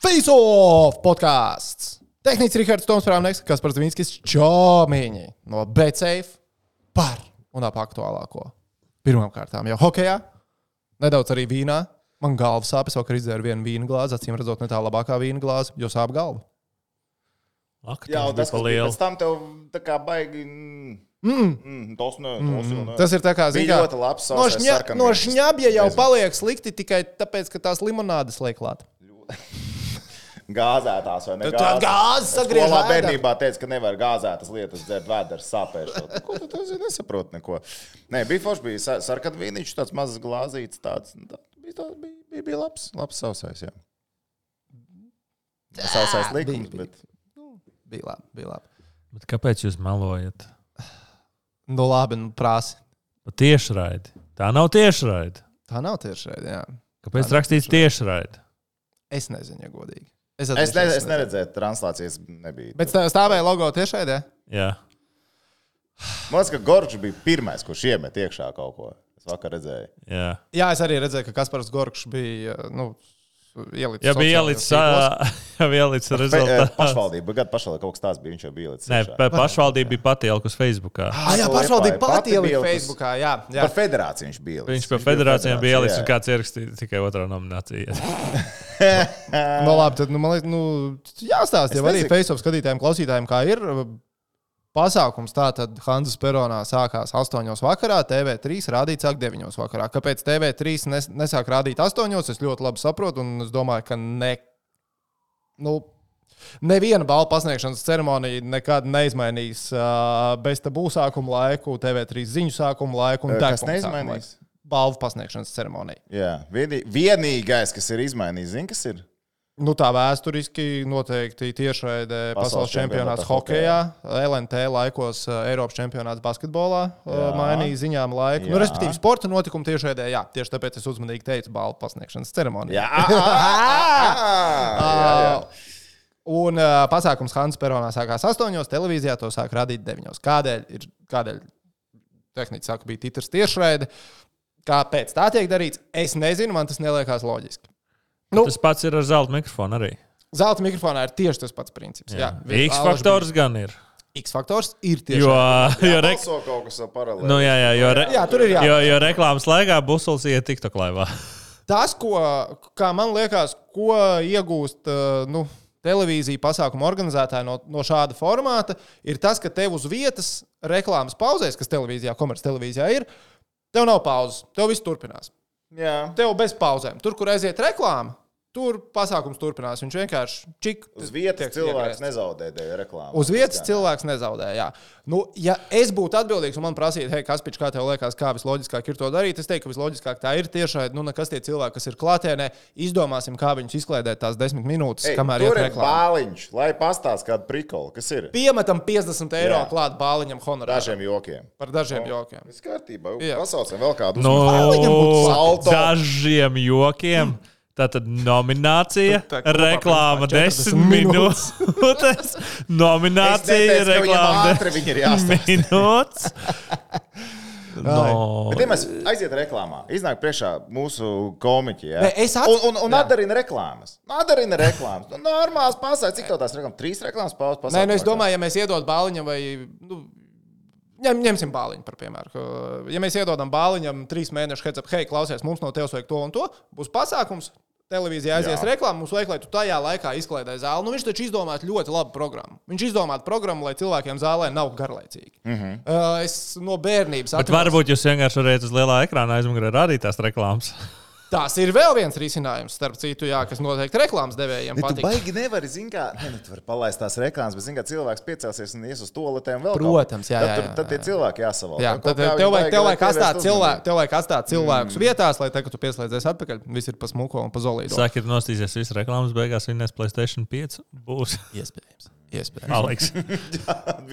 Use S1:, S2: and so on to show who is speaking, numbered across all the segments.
S1: Face-off podkāsts. Tehnicis Rahards Tomsprāvnieks, kas par Zvaigznes čomiņi Nu, no BCF par un ap aktuālāko. Pirmkārt, jau hokeja, nedaudz arī vīnā. Man galva sāpes, vakar izdzēru vienu vīnu glāzi, acīm redzot, ne tā labākā vīna glāze, jo sāp galva.
S2: Ak,
S3: Jā, un tas
S2: bija
S3: bija
S2: liels.
S3: Pēc tam tev tā kā baigi. mm, mm, Tas nē, tas nē.
S1: Tas ir tā kā
S3: Bija
S1: zin kā,
S3: ļoti labs
S1: No,
S3: sausais
S1: šņa,
S3: sarkanvīns.
S1: no šņabja jau
S3: Nezinu.
S1: paliek slikti tikai tāpēc, ka tās limonādes liek klāt.
S3: gāzētās vai ne?
S1: Tu tā gāzi sagriež
S3: Skolā
S1: ēdā.
S3: bērnībā teica, ka nevar gāzētas lietas dzert vēders sāpēšot. Nu, Ko tu tas ir? Nesaprot neko. Nē, bija forši, bija sa- sarkan vīniņš, tāds mazs glāzīts, tāds. nu, tā- Bija, tā, bija, bija, bija labs, labs sausais, jā. Sausais likums,
S1: bija.
S3: bet
S1: Bija labi, bija labi.
S2: Bet Kāpēc jūs melojat?
S1: Nu, labi, nu, prāsi.
S2: Pa tiešraidi. Tā nav tiešraidi.
S1: Tā nav tieši reizē.
S2: Kāpēc rakstīts tiešraidi?
S1: Es nezinu, ja godīgi.
S3: es,
S1: atzīšos,
S3: ne, es neredzēju, translācijas nebija.
S1: Bet tā stāvēja logo tiešai, ja?
S2: Jā.
S3: Man liekas, ka Gorčs bija pirmais, kurš iemet iekšā kaut ko. Es vakar redzēju.
S2: Jā,
S1: Jā, es arī redzēju, ka Kaspars Gorčs bija nu, ielicis.
S2: jā bija
S1: sociālajos
S2: ielicis
S1: tīklos.
S2: ielicis
S3: Pe- e,
S2: rezultāts.
S3: Pašvaldība, bet gan pašvaldība kaut kas tāds bija, viņš jau bija
S2: Nē,
S3: līdz.
S2: pa- pašvaldība bija pati ielikusi Facebookā.
S1: Ah, jā, pašvaldība
S3: Pati
S1: pati ielika
S3: bija ielikus.
S1: Facebookā. Jā, jā.
S3: Par federāciju viņš bija.
S2: Viņš par federācijām bija ielicis un kāds ierakstīja tikai otrā nominācijā.
S1: No, labi, tad, nu, man liekas, nu, jāstāsta jau arī
S3: nezinu.
S1: Facebook skatītājiem, klausītājiem, kā ir. uh, Pasākums tā tad Hanzas Peronā sākās 8.00 vakarā, TV3 rādīts sāk 9.00 vakarā. Kāpēc TV3 nes nesāk rādīt 8.00? Es ļoti labi saprotu, un es domāju, ka ne. Nu, Neviena balva pasniegšanas ceremonija nekad neizmainīs uh, bez tabū sākuma laiku, TV3 ziņu sākuma laiku un
S3: Ē,
S1: tā
S3: kas neizmainīs?
S1: Balvu pasniegšanas ceremonija.
S3: Jā, vienī, vienīgais, kas ir izmainījis, zina, kas ir.
S1: Nu, tā vēsturiski noteikti tiešraidē pasaules, pasaules čempionāts
S3: čempionātā
S1: hokeja, LNT laikos eh, Eiropas čempionāts basketbolā eh,
S3: Jā.
S1: mainīja ziņām laiku. Nu,
S3: Jā.
S1: respektīvi, sporta notikumu tiešraidē, jā, tieši tāpēc es uzmanīgi teicu balvu pasniegšanas ceremoniju.
S3: Jā, ā, ā, ā, ā, jā, jā.
S1: Un uh, pasākums Hans Peronā sākās 8.00, televīzijā to sāk radīt 9.00. Kādēļ? Ir, kādēļ? Tehniski saka, bija titrs tiešraide. Kāpēc tā tiek darīts? Es nezinu, man tas neliekās loģiski. Nu,
S2: Tas pats ir ar zelta mikrofonu arī.
S1: Zelta mikrofonā ir tieši tas pats princips. Jā,
S2: X faktors gan ir.
S1: X faktors ir tieši
S2: Jo,
S1: tas
S2: jo, re,
S3: Balso kaut kas vēl paralēli.
S2: nu, jā, jā, jo, re,
S1: Jā, tur ir jā.
S2: jo, jo reklāmas laikā Busls iet TikTok laivā.
S1: tas, ko, kā man liekas, ko iegūst eh, nu, televīzija pasākuma organizētāji no, no šāda formāta, ir tas, ka tev uz vietas reklāmas pauzēs, kas televīzijā, komerctelevīzijā ir, tev nav pauzes, tev viss turpinās.
S3: jā.
S1: Tev bez pauzēm. Tur, kur aiziet reklāma, tur pasākums turpinās. Viņš vienkārši čik.
S3: Uz vietas
S1: tiek
S3: cilvēks
S1: iegriezts.
S3: nezaudē dēļ reklāmas.
S1: Uz vietas cilvēks nezaudēja. Nu, ja es būtu atbildīgs un man prasītu, hei, kas pieci, kā tev liekas, kā visloģiskāk ir to darīt, es teiktu, ka visloģiskāk tā ir tiešai, nu, nekas tie cilvēki, kas ir klātienē, izdomāsim, kā viņus izklaidēt tās desmit minūtes, Ei, kamēr
S3: tur
S1: iet
S3: ir
S1: reklāmā.
S3: bāliņš, lai pastāst kādu prikolu, kas ir.
S1: Piemetam 50 eiro
S3: Jā.
S1: klāt bāliņam honorāru
S3: Dažiem jokiem.
S1: par dažiem jokiem.
S3: Viss kārtībā.
S1: Jā.
S3: Pasaucam vēl kādu.
S2: Nu,
S1: Viņam būtu
S3: salto.
S2: dažiem jokiem. Tātad nominācija,
S1: Tā kopā
S2: reklāma
S1: pirmā
S2: 10
S1: 40
S2: minūtes. Nominācija,
S3: Es neteicu, ka viņam
S2: reklāma
S3: ātri viņi ir
S2: 10
S3: jāstāsta.
S2: minūtes. No.
S3: Bet, ja mēs aiziet reklāmā, iznāk priekšā mūsu komiķi. Ja?
S1: Nē, es at-
S3: Un, un, un
S1: Jā.
S3: atdarina reklāmas. Atdarina reklāmas. Nu, normāls pasākums. Cik tev tās reklāmas? Trīs reklāmas pauzes pasākums.
S1: Nē, nu, es domāju, ja mēs iedodam bāliņam vai. Nu, Ņem, ņemsim bāliņu, par piemēru. ka, Ja mēs iedodam bāliņam trīs mēnešu heads up, hei, klausies, mums no tevis vajag to un to, būs pasākums, televīzijā aizies
S3: Jā.
S1: reklāmas, mums vajag, lai tu tajā laikā izklaidēji zāli. Nu, viņš taču izdomātu ļoti labu programmu. Viņš izdomātu programmu, lai cilvēkiem zālē nav garlaicīgi. Mm
S3: Mhm.
S1: -hmm. uh, es no bērnības
S2: Bet varbūt jūs vienkārši varētu uz lielā ekrāna aizmugurē rādīt tās reklāmas.
S1: Tas ir vēl viens risinājums, starp citu, jā, kas noteikti reklāmas devējiem
S3: Bet tu
S1: patīk.
S3: baigi nevari, zini, kā. Nē, nu, tu vari palaist tās reklāmas, bet, zini, kā cilvēks piecelsies un ies uz to latēm vēl. kaut
S1: Protams,
S3: kur.
S1: jā, jā,
S3: Tad, tur-
S1: jā,
S3: tad tie
S1: jā.
S3: cilvēki jāsavalk.
S1: Jā,
S3: Un kaut
S1: tad eh, tev
S3: kā viņi
S1: vajag,
S3: baigi,
S1: tev
S3: lai
S1: vajag atstāt
S3: pievērst
S1: cilvēku,
S3: uzmanību.
S1: tev vajag
S3: Mm.
S1: atstāt cilvēkus vietās, lai tagad tu pieslēdzies atpakaļ, viss ir pa smuko un pa zolīdu.
S2: Sākat, nostīsies visas reklāmas, beigās viņa nes Placēta 5. Būs.
S1: Iespējams. Iespējams.
S2: Aleks.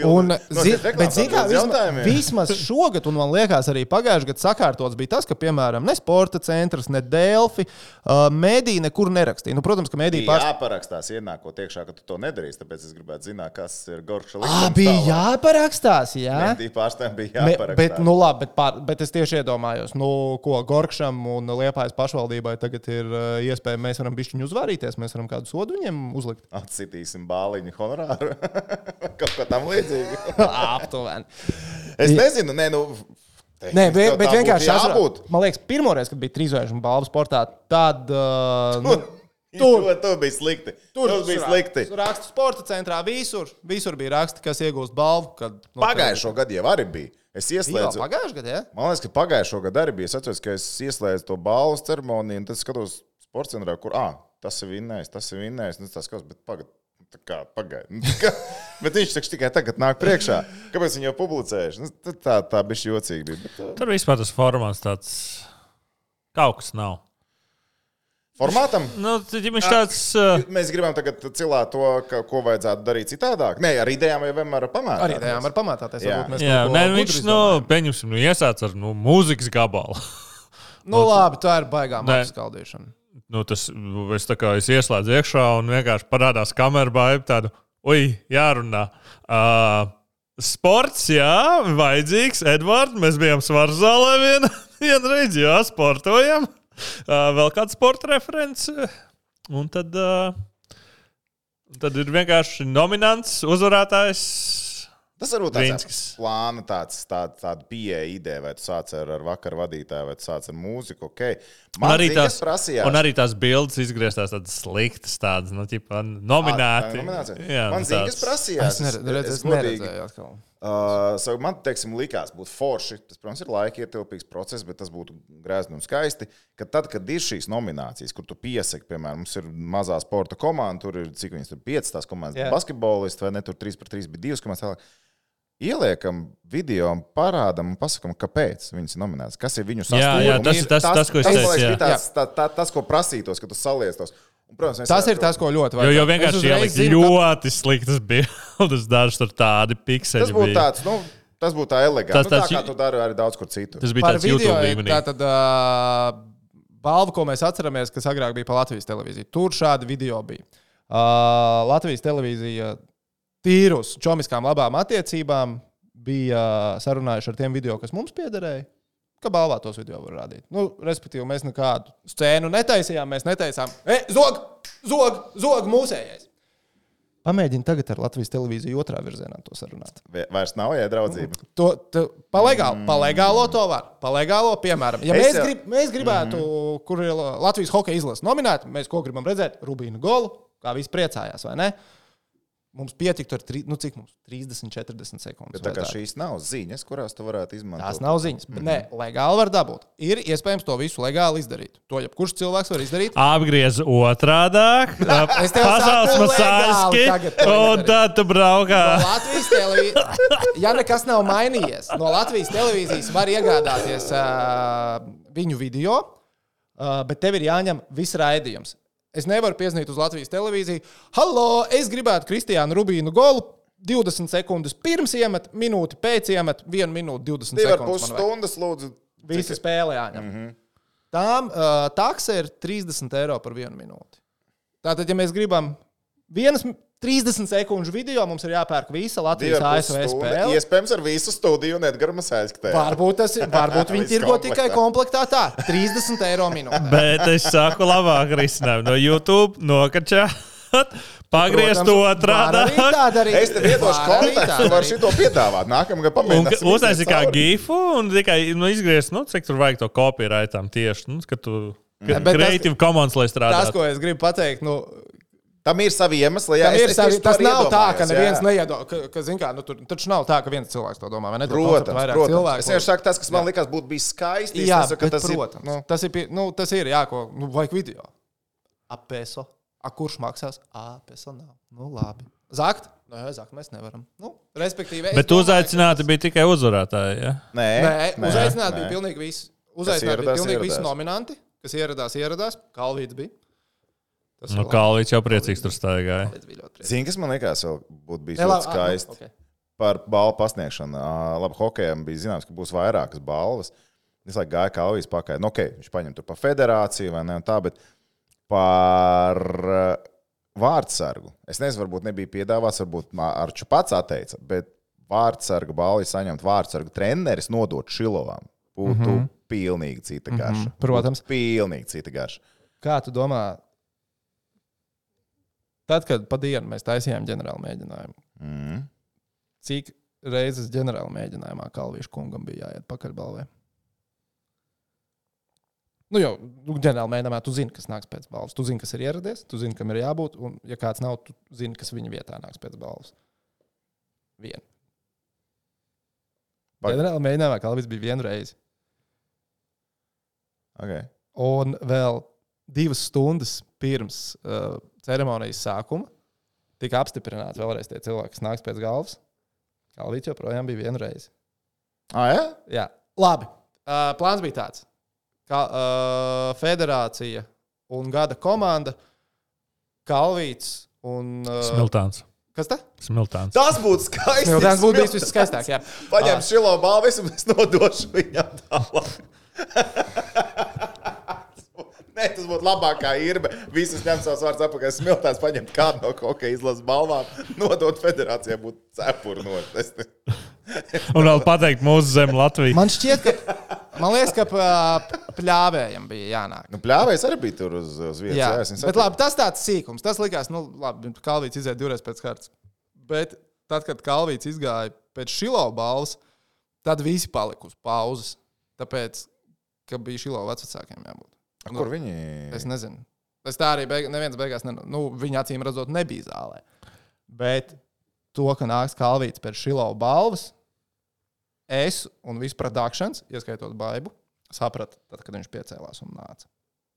S1: Un, zi,
S3: Notiek
S1: bet,
S3: reklāmas
S1: zin, kā,
S3: atbildes
S1: vismaz,
S3: jautājumiem.
S1: vismaz šogad, un man liekas, arī pagājušajā gadā sakārtots bija tas, ka, piemēram, ne sporta centrs, ne Dēlķi, uh, mēdīte nekur nerakstīja. Nu, protams, ka mēdīte
S3: Bija
S1: pārstāvja.
S3: jāparakstās, ienākot iekšā, ka tu to nedarīsi. Tāpēc es gribētu zināt, kas ir Gorča līnija.
S1: Ah, bija jāparakstās, jā.
S3: Mēdī pārstāvjiem bija
S1: Me,
S3: jāparakstās.
S1: bet, nu, labi, bet, pār, bet es tieši iedomājos, nu, ko Gorkšam un Liepājas pašvaldībai tagad ir uh, iespēja. Mēs varam pišķiņu uzvarīties, mēs varam kādu sodu viņiem uzlikt.
S3: Atsitīsim bāliņu honorāru. Kaut kā tam līdzīga.
S1: Aptuveni.
S3: Es nezinu, nē, nu.
S1: Nē, bet,
S3: tehniski tev
S1: bet
S3: tā būtu
S1: vienkārši
S3: jābūt.
S1: jābūt. Man liekas, pirmoreiz, kad bija trīsvaigžņu balvu sportā, tad. Uh, nu, Tur.
S3: Tur tu bija slikti. Tur bija slikti.
S1: Rakstu sporta centrā visur. Visur bija raksti, kas iegūst balvu. Kad, nu,
S3: Pagājušo gadu jau arī bija. Es
S1: gada.
S3: ieslēdzu.
S1: Pagājušajā gadā, ja?
S3: Man liekas, ka pagājušo gadu arī bija. Es atceros, ka es ieslēdzu to balvu ceremoniju, un tad skatos sporta centrā, kur ah, tas ir vinnējis, tas ir vinnējis. Un es tā skatos, bet pagaidu. Pagaidiet, Nu, bet viņš taču tikai tagad nāk priekšā. Kāpēc viņi jau publicējuši? Nu, tā- Tā, tā bija jocīga. Bija. Bet, uh,
S2: Tur vispār tas formāts tāds kaut kas nav.
S3: Formātam
S2: Nu, tad, ja viņš tāds. Uh,
S3: Mēs gribam tagad cilāt to, ka, ko vajadzētu darīt citādāk. Nē, ar idejām jau vienmēr ir pamāta.
S1: Arī tajā var pamatāties.
S3: Jā.
S1: varbūt mēs
S2: Jā,
S1: kaut ko
S2: nē,
S1: gudru
S2: viņš, nu,
S1: izdomājam.
S2: pieņemsim, nu, iesācis ar nu, mūzikas gabalu.
S1: Nu, labi, tā ir baigā
S2: Nē.
S1: apskaldīšana.
S2: nu, tas, es, tā kā, es ieslēdzu iekšā un vienkārši parādās kamerā, baigta tādu, ui, jārunā. Uh, sports, jā, vajadzīgs, Edvards, mēs bijām svaru zālē vienu, vienu reizi, jā, sportojam. Uh, vēl kāds sporta referents. Un tad, uh, tad ir vienkārši nominants, uzvarētājs.
S3: Tas varbūt tāds ir
S2: Drinskis.
S3: plāns, tāds, tāds, tāda pieeja, ideja, vai tu sāc ar, ar vakarā vadītāju, vai tu sāc ar mūziku. Okay.
S2: Un
S3: Man
S2: arī,
S3: zini,
S2: tās,
S3: kas prasījās.
S2: un arī tās bildes izgrieztās tādas sliktas, tādas, nu, tā nominēti.
S3: Nominācija. Man
S2: nu,
S3: zina,
S2: tāds.
S3: kas prasījās.
S1: Es neredzu, redz, es
S3: godīgi,
S1: neredzēju atkal.
S3: Uh, so man teiksim, likās, būtu forši. Tas, protams, ir laika ietilpīgs process, bet tas būtu grēzni un skaisti. Ka tad, kad ir šīs nominācijas, kur tu piesaki, piemēram, mums ir mazā sporta komanda, tur ir cik viņas tur 5 tās komandas,
S1: Jā.
S3: yeah. basketbolisti vai ne, tur 3 pret 3 bija 2 komandas. tālāk. Ieliekam video, un parādam un pasakām, kāpēc viņas ir nominētas. Kas ir viņu
S2: Jā,
S3: sasniegums?
S2: jā, tas ir tas- tas, ko es teicu,
S3: Tas, man liekas,
S2: jā.
S3: bija tāds- tā- tā- tas, ko prasītos, ka tu saliestos. Un, protams, mēs
S1: Tas ir
S3: varētu-
S1: tas, ko ļoti
S2: Jo,
S1: vajag.
S2: jo vienkārši ielikt ļoti sliktas bildes, dažas tur tādi
S3: Tas
S2: pikseli.
S3: būtu
S2: bija.
S3: tāds, nu, tas būtu tā elegants.
S2: Tas
S3: Nu, tā
S2: tāds-
S3: kā tu dari arī daudz kur citur.
S2: Tas bija tāds YouTube līmenī.
S1: Tā tad uh, balva, ko mēs atceramies, kas agrāk bija pa Latvijas televīziju. Tur šādi video bija. Uh, Latvijas televīzija tīrus čomiskām labām attiecībām bija sarunājuši ar tiem video, kas mums piederēja. Ka balvā tos video var rādīt. Nu, respektīvi, mēs nekādu scēnu netaisījām. Mēs neteicām, e, zog, zog, zog, mūsējais. Pamēģini tagad ar Latvijas televīziju otrā virzienā to sarunāt.
S3: Vai- Vairs nav iedraudzība.
S1: To, to, pa, legālo, pa legālo to var. Pa legālo, piemēram, ja
S3: Mm. Es
S1: mēs,
S3: jau- Mhm.
S1: grib, mēs gribētu, kur ir Latvijas hokeja izlase nominēta, mēs ko gribam redzēt? Rubīnu golu, kā visi priecājās, vai ne? Mums pietiktu ar tri, nu, cik mums? 30, 40 sekundes.
S3: Bet tā kā Mhm.
S1: vajadzētu.
S3: šīs nav ziņas, kurās tu varētu izmantot.
S1: Tās nav ziņas. Mm -hmm. Nē, legāli var dabūt. Ir iespējams to visu legāli izdarīt. To jebkurš cilvēks var izdarīt.
S2: Apgriez otrādāk,
S1: Es tev
S2: pasaules
S1: saku,
S2: masāļski,
S1: legāli tagad to Nu,
S2: un
S1: nedarīt.
S2: tad tu braukā.
S1: No Latvijas televīzijas, ja nekas nav mainījies, no Latvijas televīzijas var iegādāties uh, viņu video, uh, bet tev ir jāņem viss raidījums. Es nevaru piesniegt uz Latvijas televīziju. Halo, es gribētu Kristiānu Rubīnu golu 20 sekundes pirms iemet, minūti pēc iemet, 1 minūte 20
S3: Divi ar pus
S1: sekundes. man vajag.
S3: stundas, lūdzu.
S1: Visa spēle jāņem. Mm
S3: Mhm.
S1: -hmm. Tām uh, taksa ir 30 eiro par vienu minūti. Tātad, ja mēs gribam vienas mi- 30 sekundžu video, mums ir jāpērk visa
S3: Divi
S1: Latvijas
S3: ar pus
S1: ASV
S3: stundas.
S1: spēle.
S3: Iespējams, ar visu studiju un Edgars Masēļskatē.
S1: Varbūt, tas, ir- varbūt viņi
S3: Viss
S1: tirgo
S3: komplektā.
S1: tikai komplektā tā, 30 eiro minūtē.
S2: Bet es saku, labāk risinājumu no YouTube, nokačā. Pagriezt otrādāk.
S3: Es tev iedošu kontekstu, var šito piedāvāt. Nākamgad
S2: Un
S3: pamēģināsim.
S2: uztaisīja
S3: iziet
S2: kā
S3: cauri.
S2: gifu, un tikai nu, izgriezt, nu, cik tur vajag to kopieraitam tieši. Nu, ka tu, ka
S1: Bet tas-
S2: creative commons, lai
S1: Tas,
S2: strādātu.
S1: ko es gribu pateikt, nu,
S3: Tam ir savi iemesli. Jā,
S1: tam
S3: es-
S1: ir
S3: es
S1: savi,
S3: tieši to
S1: tas
S3: arī
S1: nav tā, ka
S3: iedomājos,
S1: neviens
S3: jā.
S1: neiedomājās. Ka, ka, zin kā, nu, tur taču nav tā, ka viens cilvēks to domā. vai ne? Tur konceptu
S3: Protams,
S1: vairāk
S3: protams.
S1: cilvēku.
S3: Es vienkārši saku, tas, kas man likās, būtu bijis skaisti. es
S1: Jā,
S3: nesaku, ka
S1: bet, tas protams. Ir, nu, tas, ir, pie- nu, tas ir, jā, ko nu, vajag video. Apēso. A, kurš maksās? Apēso nav. Nu, labi. Zakt? Nē, zakt mēs nevaram. Nu, respektīvi, es
S2: Bet
S1: domāju,
S2: uzaicināti bija tikai uzvarētāji. Ja?
S1: Nē,
S3: Nē, nē,
S1: uzaicināti
S3: nē.
S1: bija pilnīgi visi. Uzaicināti bija
S3: ieradās,
S1: pilnīgi visi
S3: ieradās.
S1: nominanti, kas ieradās, ieradās. Kalvīds bija. Tas
S2: Nu,
S1: ir labi.
S2: Kalvīds Nu, jau priecīgs tur staigāja.
S1: Kalvīts bija ļoti priecājos.
S3: Zini, kas man liekas, vēl būtu bijis
S1: Nē, labi,
S3: ļoti
S1: ah,
S3: skaisti.
S1: nu, ok.
S3: par balvu pasniegšanu. Ā, Labi, hokejam bija zināms, ka būs vairākas balvas. Viņš laikam gāja kaujas pakaļ. Nu, okay, viņš paņem to pa federāciju vai ne, un tā, bet par ā, vārdsargu. Es nezinu, varbūt nebija piedāvāts, varbūt mā- Arču pats atteica, bet vārdsargu balvu saņemt vārdsargu treneris nodot Šilovam. Būtu mm -hmm. pilnīgi cita garša. Mm
S1: Mhm.
S3: -hmm.
S1: protams.
S3: Pilnīgi cita garša.
S1: Kā tu domā? Tad, kad pa dienu mēs taisījām ģenerālu mēģinājumu,
S3: Mm.
S1: cik reizes ģenerāla mēģinājumā Kalvīša kungam bija jāiet pakaļbalvē. Nu, jau nu, ģenerāla mēģinājumā tu zini, kas nāks pēc balvas. Tu zini, kas ir ieradies, tu zini, kam ir jābūt. Un, ja kāds nav, tu zini, kas viņa vietā nāks pēc balvas. Vienu.
S3: Pag-
S1: Ģenerāla mēģinājumā Kalvīds bija vienu reizi.
S3: Okay.
S1: Un vēl divas stundas pirms uh, ceremonijas sākuma tika apstiprināti vēlreiz tie cilvēki, kas nāks pēc galvas. Kalvīds joprojām bija vienu reizi.
S3: Ah, jā?
S1: Jā, labi. Uh, plāns bija tāds, ka uh, federācija un gada komanda Kalvīts un uh,
S2: Smiltāns.
S1: kas tas?
S2: Smiltāns.
S3: Tas būtu skaisti.
S1: Tas būtu bijis viss skaistākais. jā.
S3: Paņem šilo balvu, un es nodošu viņam tālāk. Nē, tas būtu labākā īrba. Visas ņem savus vārdus apakšā, smiltās, paņemt kādu no hokeja izlases balvām, nodot federācijai, būtu cepurnot. Es ne-
S2: Un vēl pateikt mūsu zem Latviju.
S1: Man šķiet, ka, man liekas, ka uh, pļāvējiem bija jānāk.
S3: Nu, Pļāvējs arī bija tur uz, uz vietas.
S1: Jā,
S3: Jā, es viņu
S1: bet
S3: saprotu.
S1: labi, tas tāds sīkums. Tas likās, nu, labi, Kalvīts iziet divreiz pēc kārtas. Bet tad, kad Kalvīts izgāja pēc šilo balvas, tad visi palika uz pauzes. Tāpēc, ka bija šilo vecākiem jābūt.
S3: A, Nu, Kur viņi?
S1: nu, Es nezinu. Es tā arī beig neviens beigās, ne, nu, viņa acīm redzot, nebija zālē. Bet to, ka nāks Kalvīts pēc šilau balvas, es un vispār dārkšanas, ieskaitot baibu, sapratu, tad, kad viņš piecēlās un nāca.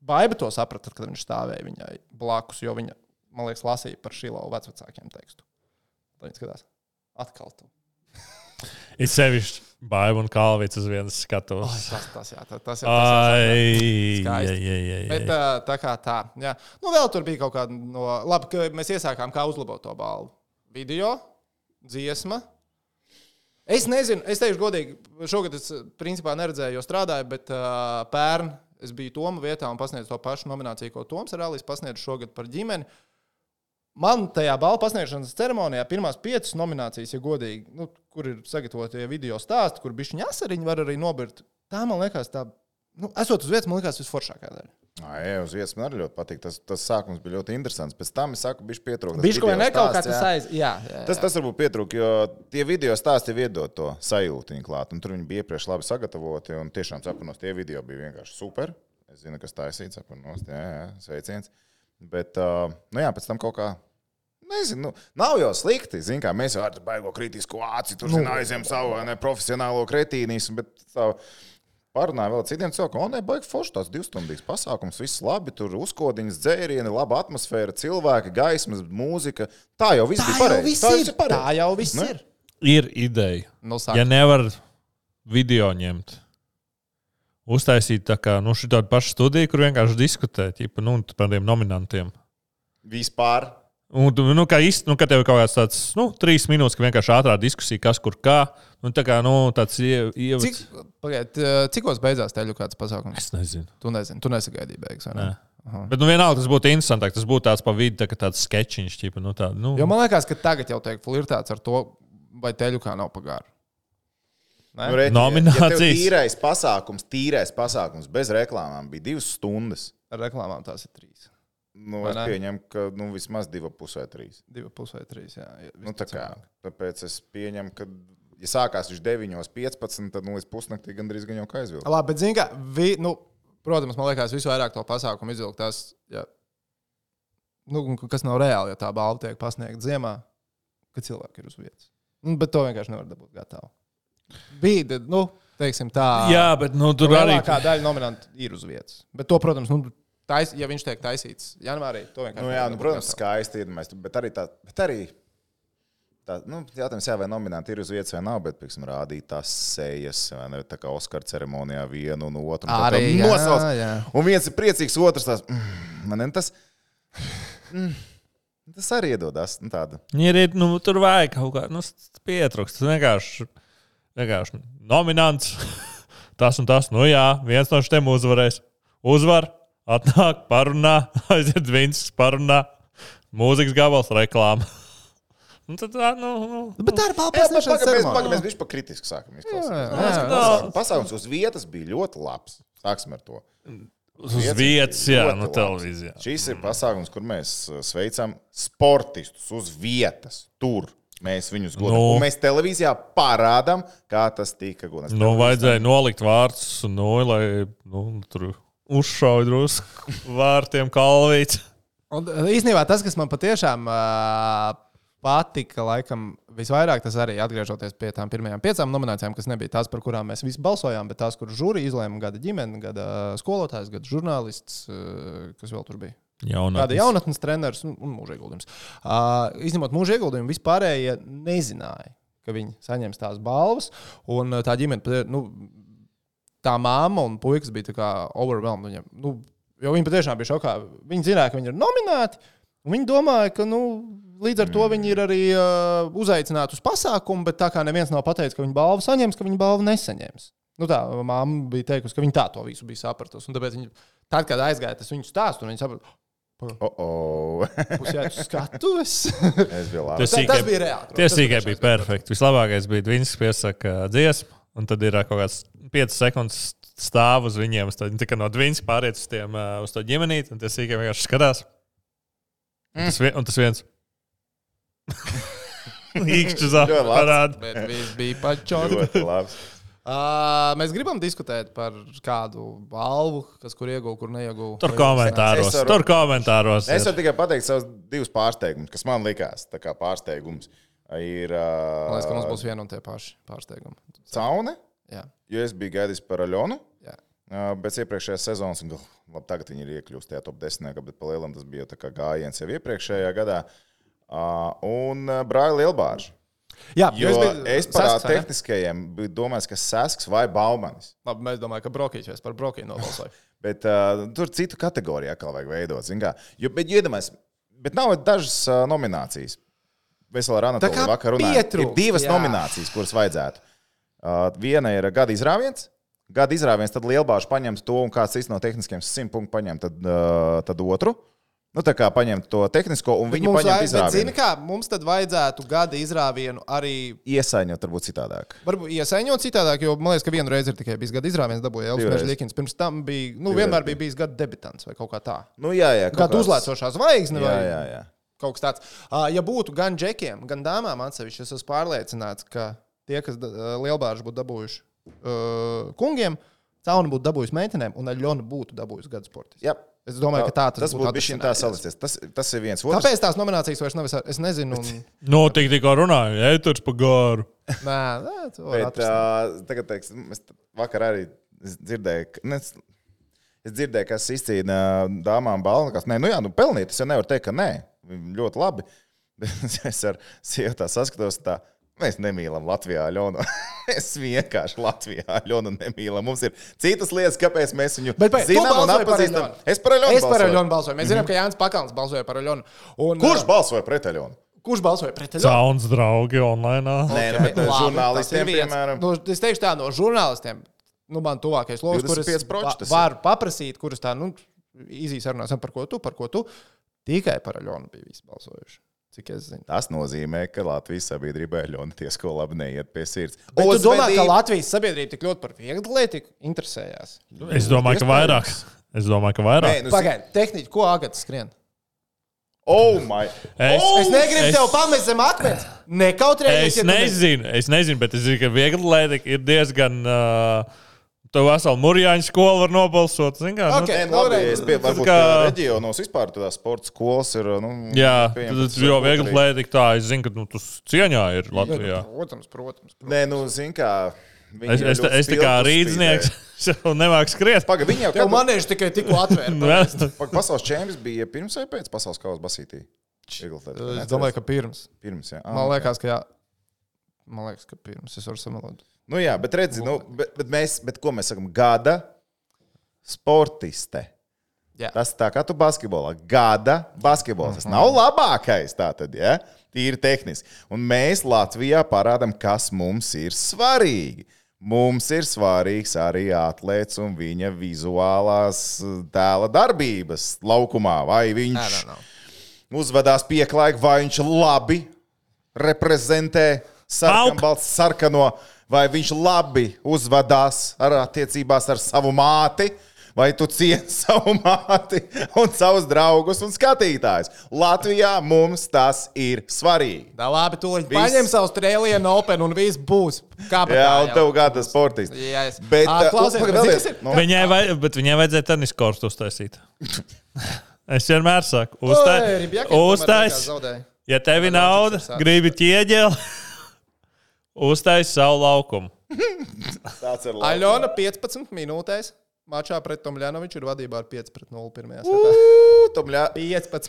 S1: Baiba to saprata, tad, kad viņš stāvēja viņai blakus, jo viņa, man liekas, lasīja par šilau vecākiem tekstu. Tad viņš skatās, atkal tu.
S2: Ir sevišķi Baiva un Kalvīts uz vienas skatos.
S1: Tas, tas, jā, tas, tas, jā, tas, tas, jā.
S2: Ai, jā,
S1: Skaisti.
S2: jā, jā,
S1: Bet, uh,
S2: jā.
S1: ā, tā kā tā. Jā. Nu, vēl tur bija kaut kāda no. Labi, ka mēs iesākām kā uzlabot to balvu. Video, dziesma. Es nezinu, es teikšu godīgi, šogad es principā neredzēju, jo strādāju, bet uh, pērn es biju Toma vietā un pasniedzu to pašu nomināciju, ko Toms Rālijs pasniedz šogad par ģimeni. Man tajā balvu pasniegšanas ceremonijā pirmās piecas nominācijas, ja godīgi, nu, kur ir sagatavotie video stāsti, kur bišķiņa asariņi var arī nobirt. Tā man liekas, tā, nu, esot uz vietas, man liekas, visforšākā daļa.
S3: Ai, jā, uz vietas man arī ļoti patīk. Tas, tas sākums bija ļoti interesants. Pēc tam es saku, bija pietrūkums.
S1: Viņš kaut kā nekaut kā tas aiz. Jā, jā,
S3: Tas, tas varbūt pietrūka, jo tie video stāsti jau iedod to sajūtu viņa klāt. un Tur viņi bija iepriekš labi sagatavoti un tiešām saprātos. Tie video bija vienkārši super. Es zinu, kas taisīts, saprātos. Jā, jā, sveiciens. Bet, uh, nu jā, pēc tam kaut kā. Nezinu, nu, nav jau slikti. Zin, kā, mēs jau ar tādu baigo kritisku aci tur nu, aizņemam savu ne, profesionālo kretīnismu, bet savu, parunāju vēl ar citiem cilvēkiem. Un, baigs, forši tāds divstundīgs pasākums, viss labi. Tur uzkodiņas, dzērieni, laba atmosfēra, cilvēki, gaismas, mūzika. Tā jau viss
S1: tā
S3: bija
S1: jau
S3: pareizi.
S1: viss ir.
S3: viss pareizi. Nu?
S1: Tā jau viss
S3: Ne?
S1: ir.
S2: Ir ideja.
S1: Nu,
S2: Ja
S1: sāk,
S2: nevar video ņemt, uztaisīt tā kā nu, tādu pašu studiju, kur vienkārši diskutēt ķipa, nu, par tiem nominantiem.
S3: Vispār.
S2: Un, tu, nu, kā īsti, nu, kad tev ir kaut kāds tāds, nu, trīs minūtes, ka vienkārši ātrā diskusija, kas kur kā. Nu, tā kā, nu, tāds ievads.
S1: cik, pagaid, eh, cikos beidzās teļu kāds pasākums?
S2: Es nezinu.
S1: Tu nezini, tu nesagaidīji beigas. vai ne?
S2: Nē. Bet, nu, vienalga, tas būtu interesantāk. Tas būtu tāds pa vidu, tā kā tāds sketčiņš, ķipa, nu, tā, nu.
S1: Jo man liekas, ka tagad jau tiek flirtēts ar to, vai teļu kā nav pagāra.
S3: Nu, redzi, Ja, ja
S2: Nominācijas.
S3: tev tīrais pasākums, tīrais pasākums bez reklāmām bija divas stundas.
S1: Ar reklāmām tās ir trīs.
S3: Nu,
S1: Vai
S3: es
S1: ne?
S3: pieņemu, ka nu, vismaz divi pusē trīs.
S1: Divi pusi vai trīs. Jā, jā,
S3: Nu, tā kā, tāpēc es pieņemu, ka, ja sākās viņš 9.15, tad nu, līdz pusnaktī gandrīz gan jau kā aizvilkt.
S1: Labi, bet zini, kā, vi, nu, protams, man liekas, visvairāk to pasākumu izvilkt tas, ja, nu, kas nav reāli, ja tā balva tiek pasniegta ziemā, kad cilvēki ir uz vietas. Nu, bet to vienkārši nevar dabūt gatavu. Bija, nu, teiksim tā,
S2: Jā, bet, nu, tur arī.
S1: lielākā daļa nominantu ir uz vietas. Bet to, protams, nu, tais, ja viņš tiek taisīts janvārī, to vienkārši
S3: Nu,
S1: nevar
S3: jā,
S1: dabūt
S3: nu, protams,
S1: gatavu.
S3: skaisti ir. Mēs, bet arī tā, bet arī tā nu, jautājums, jā, vai nominanti ir uz vietas vai nav, bet, piemēram, rādīt tās sejas, vai ne, tā kā Oskara ceremonijā vienu un otru. un tā
S1: Arī,
S3: tev
S1: jā,
S3: nosauc.
S1: jā.
S3: Un viens ir priecīgs, otrs tās, nu, mm, man ir tas. Mm. Tas arī iedodas nu, tādu.
S2: Ir, ir, nu, tur vajag kaut kāda nu, pietrūkst. Tas vienkārši, vienkārši nominants. Tas un tas, nu jā, viens no šiem uzvarēs. Uzvar, atnāk, parunā, aiziet viens, parunā, mūzikas gabals, reklāma. Un tad, tā, nu, nu,
S1: Bet tā ir
S3: Jā, bet
S1: pārspīlēšana.
S3: pagaid, mēs
S1: ceremonija.
S3: pagaid, mēs bijām pakritiski sākam izklausīties.
S1: Jā, jā.
S3: Pasākums- Pasākums uz vietas bija ļoti labs. Sāksim ar to.
S2: uz
S3: Vietas
S2: vietas,
S3: bija
S2: jā, nu, no
S3: ļoti labs.
S2: televīzijas.
S3: Šis ir pasākums, kur mēs uh, sveicam sportistus uz vietas. Tur mēs viņus godinām.
S2: Nu.
S3: No. Mēs televīzijā parādām, kā tas tika godināts.
S2: Nu, vajadzēja nolikt vārdus, nu, lai nu, tur uzšauja drusku vārtiem kalvīts.
S1: Un, uh, īstenībā tas, kas man patiešām uh, patika, laikam, visvairāk tas arī atgriežoties pie tām pirmajām piecām nominācijām, kas nebija tās, par kurām mēs visi balsojām, bet tās, kur žūri izlēma gada ģimene, gada skolotājs, gada žurnālists, uh, kas vēl tur bija. Kāda jaunatnes treneris un, un mūža ieguldījums. Uh, izņemot mūža ieguldījumu, vispārējie nezināja, ka viņi saņems tās balvas. Un uh, tā ģimene, pat- nu, tā māma un puikas bija tā kā overwhelmed. Viņam, nu, jo viņi patiešām bija šokā. Viņi zināja, ka viņi ir nominēti. un Viņi domāja, ka nu, līdz ar to viņi ir arī uh, uzaicināti uz pasākumu, bet tā kā neviens nav pateicis, ka viņi balvu saņems, ka viņi balvu nesaņems. Nu tā, māma bija teikusi, ka viņa tā to visu bija sapratusi. un Tāpēc, viņa, tad, kad aizgāja tas viņu stāstu, viņi saprata,
S3: Oh, oh.
S1: pusēdus skatuves.
S3: es
S2: Tas
S3: biju labi.
S1: Tas, tas
S2: Sīkiem-
S1: bija reāli.
S2: Tiesīgai bija perfekti. Vislabākais bija Dienas piesaka dziesma, uh, un tad ir ā, kaut kāds 5 sekundes stāv uz viņiem. uz nu, tā- Tikai no Dienas pāriet uz, tiem, ā, uz to ģimenīti, un tas īkšķi vienkārši skatās. Un tas, vien, un tas viens īkšķis
S3: Ļoti labs.
S2: parāda.
S1: Bet viss bija pačots.
S3: Ļoti labs.
S1: Uh, mēs gribam diskutēt par kādu balvu, kas kur ieguva, kur neieguva.
S2: Tur
S1: Vai
S2: komentāros.
S3: Es varu-
S2: Tur komentāros.
S3: Es
S2: ir.
S3: varu tikai pateikt savus divus pārsteigumus, kas man likās tā kā pārsteigums. Ir
S1: Man liekas, ka mums
S3: uh,
S1: būs viena un tie paši pārsteigumi.
S3: caune,
S1: Jā.
S3: jo es biju gaidījis par Aļonu.
S1: Jā.
S3: Uh, Bet iepriekšējā sezonā, un gal- labi, tagad viņi ir iekļuvuši tajā top 10, bet palielam tas bija jau tā kā gājiens jau iepriekšējā gadā. Uh, Un uh, Brāļa Lielbāža.
S1: Jā,
S3: Jo
S1: jūs bijat-
S3: es par
S1: Sasks, vai ne?
S3: tehniskajiem biju domājis, ka Sasks vai Baumanis.
S1: Labi, mēs domājam, ka Brokīs jau par Brokiju nobalsoja.
S3: Bet uh, tur citu kategoriju atkal vajag veidot. zini kā. Jo, bet iedomājieties, bet nav dažas uh, nominācijas. Vesela ar
S1: Tā kā
S3: Anatoliju vakar runāju. Ir
S1: pietrūkst,
S3: divas
S1: jā.
S3: nominācijas, kuras vajadzētu. Uh, viena ir gada izrāviens. Gada izrāviens, tad lielbāžs paņems to, un kāds cits no tehniskiem simt punktu paņem tad, uh, tad otru. Nu, tā kā paņemt to tehnisko, un viņi
S1: mums,
S3: paņem
S1: vajag- bet zini
S3: izrāvienu.
S1: kā, mums tad vajadzētu gada izrāvienu arī
S3: Iesaņot, varbūt citādāk.
S1: Varbūt iesaņot citādāk, jo man liekas, ka vienu reizi ir tikai bijis gada izrāviens, dabūja Elvis
S3: Divreiz.
S1: Mežģīkins. Pirms tam bija, nu,
S3: Divreiz
S1: vienmēr
S3: bija.
S1: bija bijis gada debitants vai kaut kā tā.
S3: Nu, jā, jā, kaut
S1: Gada
S3: kāds-
S1: uzlēcošā zvaigzne vai
S3: Jā, jā, jā.
S1: kaut kas tāds. Ā, Ja būtu gan džekiem, gan dāmām atsevišķi, es esmu pārliecināts, ka tie, kas da- lielbāži būtu dabūjuši ā, kungiem, cauni būtu dabūjuši meitenēm, un Aļona būtu dabūjusi gada sports.
S3: Jā.
S1: Es domāju, ka tā tas,
S3: tas būtu bijis viņa tā
S1: atrisinājies.
S3: salicies. Tas, tas ir viens. Otrs,
S1: Kāpēc tās nominācijas vairs nav? Es- Es nezinu. Un,
S2: Nu, tik tikko runāju, ejturs pa gāru.
S1: nē, nē, to var
S3: Bet,
S1: atrisināt.
S3: uh, tagad, teiks, es vakar arī es dzirdēju, ka, ne, es, es dzirdēju, kas izcīna dāmām balvu. Nē, nu jā, nu pelnīt, es jau nevaru teikt, ka nē, Viņi ļoti labi. Bet es ar sievu tā saskatos, tā, mēs nemīlam Latvijā ļaunu. Mēs vienkārši Latvijā ļaunu nemīlam. Mums ir citas lietas, kāpēc mēs viņu
S1: Bet, bet, tu
S3: zinām un
S1: balsoji par
S3: atpazīstam.
S1: Aļonu.
S3: Es par ļaunu.
S1: Es par Aļonu balsoju. Mēs zinām, ka Jānis Pakāns balsoja par Aļonu. Un,
S3: Kurš balsoja pret ļaunu?
S1: kurš balsoja pret Aļonu?
S2: Cauns draugi online.
S3: Nē,
S1: Labi,
S3: bet eh,
S1: tas ir
S3: žurnālistiem,
S1: viens.
S3: piemēram,
S1: Nu, es teikšu tā, no žurnālistiem, nu, man tuvākais loks, kurus
S3: 25% tas ir.
S1: varu paprasīt, kurus tā, nu, īsīs sarunāsim par ko tu, par ko tu. Tikai par Aļonu bija visi balsojuši. Cik es zinu.
S3: Tas nozīmē, ka Latvijas sabiedrībai ļoti tiesko labi neiet pie sirds.
S1: Bet tu domā, ka
S3: Uzvedība-
S1: Latvijas sabiedrība tik ļoti par vieglatlētiku interesējās?
S2: Es domāju, ka vairāk. Nu, Es domāju, ka vairāk.
S3: Nē, nu, Pagaid.
S1: Pagaidiet, tehniķi, ko Agats skrien?
S3: Oh my.
S2: Es-
S1: Es negribu
S2: Es-
S1: tev pamest zem akmens. Nekautrējies,
S2: Es
S1: ja tu ne-
S2: nezinu, es nezinu, bet es zinu, ka viegli lētika ir diezgan. Uh, Tev vesela Mūrjāņa skola var nobalsot. zini Kā,
S1: Ok.
S2: okay.
S3: Nē, nu, labi,
S1: Labi.
S3: es pie, varbūt kā...
S2: kā-
S3: reģionos vispār tādā sporta skolas ir. Nu,
S2: nu, jā,
S3: pieņem,
S2: tas
S3: ka
S2: jau
S3: varbūt
S2: viegli
S3: arī-
S2: lētika. Tā es zinu, ka nu, tas cieņā ir Latvijā.
S1: Protams, protams. protams.
S3: Nē, nu, zini, kā. viņi
S1: nu,
S2: Es,
S3: ir
S2: es,
S3: ļoti
S2: es tā kā
S3: spilgti
S2: rīznieks
S3: spīdēji.
S2: jau nemāku skriet. Nu,
S3: Paga, viņi jau
S1: Tev
S3: kādu
S1: manēži tikai tikko atvērta.
S2: Nē,
S3: paga, pasaules čempions bija pirms vai pēc pasaules kausa basītī.
S1: Es domāju, ka pirms.
S3: pirms. Jā.
S1: Man
S3: Ah,
S1: liekas, ka jā. Man liekas, ka pirms es varu samalot.
S3: Nu, jā, bet redzi, nu, bet, bet mēs, bet ko mēs sakām? Gada sportiste.
S1: Jā.
S3: Tas tā kā tu basketbolā, gada basketbols. Tas nav labākais, tā tad, ja? tīri tehniski. Un mēs Latvijā parādām, kas mums ir svarīgi. Mums ir svarīgs arī atlētas un viņa vizuālās uh, tēla darbības laukumā.
S1: Nē,
S3: Vai viņš
S1: nē, nē.
S3: uzvedās pieklājīgi, vai viņš labi reprezentē
S2: Pauk!
S3: sarkanu, balstu, sarkano, vai viņš labi uzvedās ar attiecībās ar savu māti. Vai tu cieni savu māti un savus draugus un skatītājus? Latvijā mums tas ir svarīgi.
S1: Tā labi, tu līdz
S3: Viss.
S1: paņem savu strēlienu, open un viss būs. Kā
S3: Jā, un tev gada sportists.
S1: Jā, es-
S3: Bet,
S1: Ā,
S3: uh,
S1: klausies,
S3: un,
S1: bet
S3: vēl
S1: zini,
S3: viens-
S1: kas ir?
S3: nu,
S2: Viņai, vai, bet viņai vajadzēja tenis kortu uztaisīt. Es vienmēr saku,
S1: Oi,
S2: uztaisīt.
S1: Ribjakin tomēr beigās
S2: Uztais,
S1: zaudēja.
S2: ja tev ir
S1: Ribjakin
S2: nauda,
S1: ir sācis.
S2: gribi ķieģeli, uztaisīt savu laukumu.
S3: Tāds ir labi.
S1: Aļona 15 minūtēs mačā pret Tomljanoviču ir vadībā ar 5 pret 0 pirmajā setā.
S3: Ū, tu mļā-
S1: 15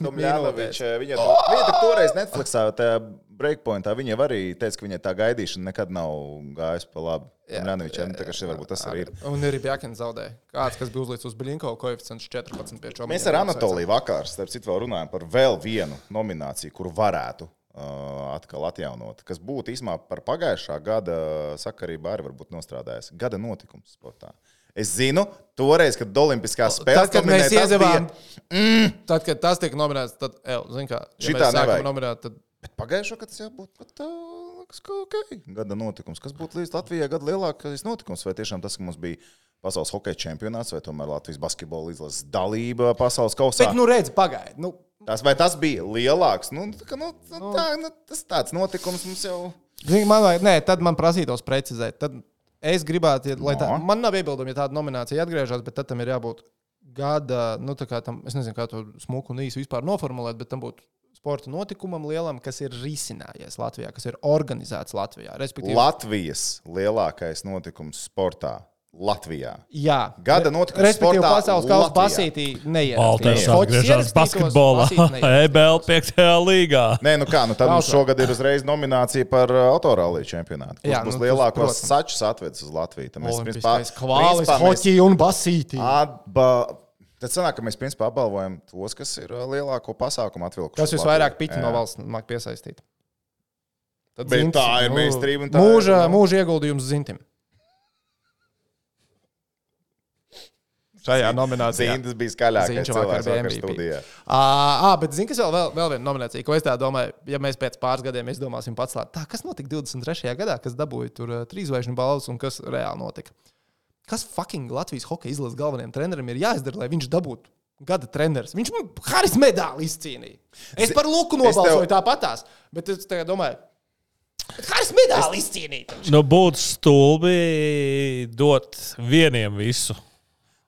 S1: minūtēs.
S3: Tomļānovičs, Nu, viņa, to, viņa tur toreiz Netflixā, tajā breakpointā, viņa arī teica, ka viņai tā gaidīšana nekad nav gājusi pa labi. Tomļānovičs, nu, tā kā šī varbūt tas arī ir.
S1: Un ir Bjakins zaudēja. Kāds, kas bija uzlīts uz Blinko, koeficients 14 pie 4.
S3: Mēs ar Anatoliju vakar, starp citu, vēl runājam par vēl vienu nomināciju, kuru varētu uh, atkal atjaunot, kas būtu īsumā par pagājušā gada sakarībā arī varbūt nostrādājis. Gada notikums sportā. Es zinu, toreiz, kad Olimpiskās spēles
S1: Nu, Tad, kad
S3: nominēja,
S1: mēs
S3: tas bija- Mm.
S1: iedevām, tad, kad tas tika nominēts, tad, el, zin kā, ja
S3: Šitā
S1: mēs
S3: nevajag.
S1: sākam nominēt, tad
S3: Bet pagājušā gada tas jau būtu pat tā, liekas, ka ok. Gada notikums. Kas būtu līdz Latvijai gada lielākais notikums? Vai tiešām tas, ka mums bija pasaules hokeja čempionāts vai tomēr Latvijas basketbola izlases dalība pasaules kausā?
S1: Bet, nu, redz, pagaidi. Nu,
S3: Tas, vai tas bija lielāks? Nu, tā, kā, nu, nu, tā, nu, tas tāds notikums mums jau.
S1: zini, man vajag, nē, tad man prasītos precizēt. Tad es gribētu, ja, lai tā,
S3: No.
S1: man nav iebildumi, ja tāda nominācija atgriežas, bet tad tam ir jābūt gada, nu, tā kā tam, es nezinu, kā to smuku un īsu vispār noformulēt, bet tam būtu sporta notikumam lielam, kas ir risinājies Latvijā, kas ir organizēts Latvijā. Respektīvi,
S3: Latvijas lielākais notikums sportā Latvijā.
S1: jā,
S3: Gada notikums
S1: Respektīvi,
S3: sportā
S1: pasaules kausa
S3: Latvijā.
S1: basītī
S2: Alters
S1: neierakstījās. Hoķis
S2: atgriežas
S1: ierakstītos,
S2: basketbolā, E
S1: basīt neierakstījās.
S2: EBL 5. līgā.
S3: Nē, nu kā, nu tad mums
S1: Rausvā.
S3: šogad ir uzreiz nominācija par uh, autorāliju čempionātu. Kurš
S1: Jā,
S3: būs
S1: nu, tas,
S3: lielākos
S1: protams.
S3: sačus atvedis uz Latviju? Tad mēs, principā,
S1: Olimpiskais kvālis,
S3: principā mēs
S1: hoķija un basītī.
S3: Atba... Tad sanāk, ka mēs principā apbalvojam tos, kas ir uh, lielāko pasākumu atvilkuši.
S1: Kas
S3: uz Latviju.
S1: visvairāk piķi no
S3: Jā.
S1: valsts māk piesaistīt? Tad
S3: Bet
S1: Zintis,
S3: tā ir meistarība un tā
S1: mūža,
S3: ir- nu.
S1: mūža ieguldījums Zintim. Šajā nominācijā.
S3: Zīnes bija skaļākais
S1: Ziņš vakar
S3: cilvēks
S1: bija
S3: vakar
S1: MVP.
S3: studijā.
S1: Ā, ā, bet zini, kas vēl, vēl, vēl viena nominācija, ko es tā domāju, ja mēs pēc pāris gadiem izdomāsim pats, lēt, tā, kas notika 23. gadā, kas dabūja tur ā, trīs zvaigžņu balvas un kas reāli notika. Kas fucking Latvijas hokeja izlases galvenajam trenerim ir jāizdara, lai viņš dabūtu gada treneris? Viņš man haris medāli izcīnīja. Es par Luku
S3: es tev-
S1: nobalsoju tāpatās, bet es tagad domāju, bet haris medāli izcīnīja. taču.
S2: Nu, būtu stulbi dot vieniem visu.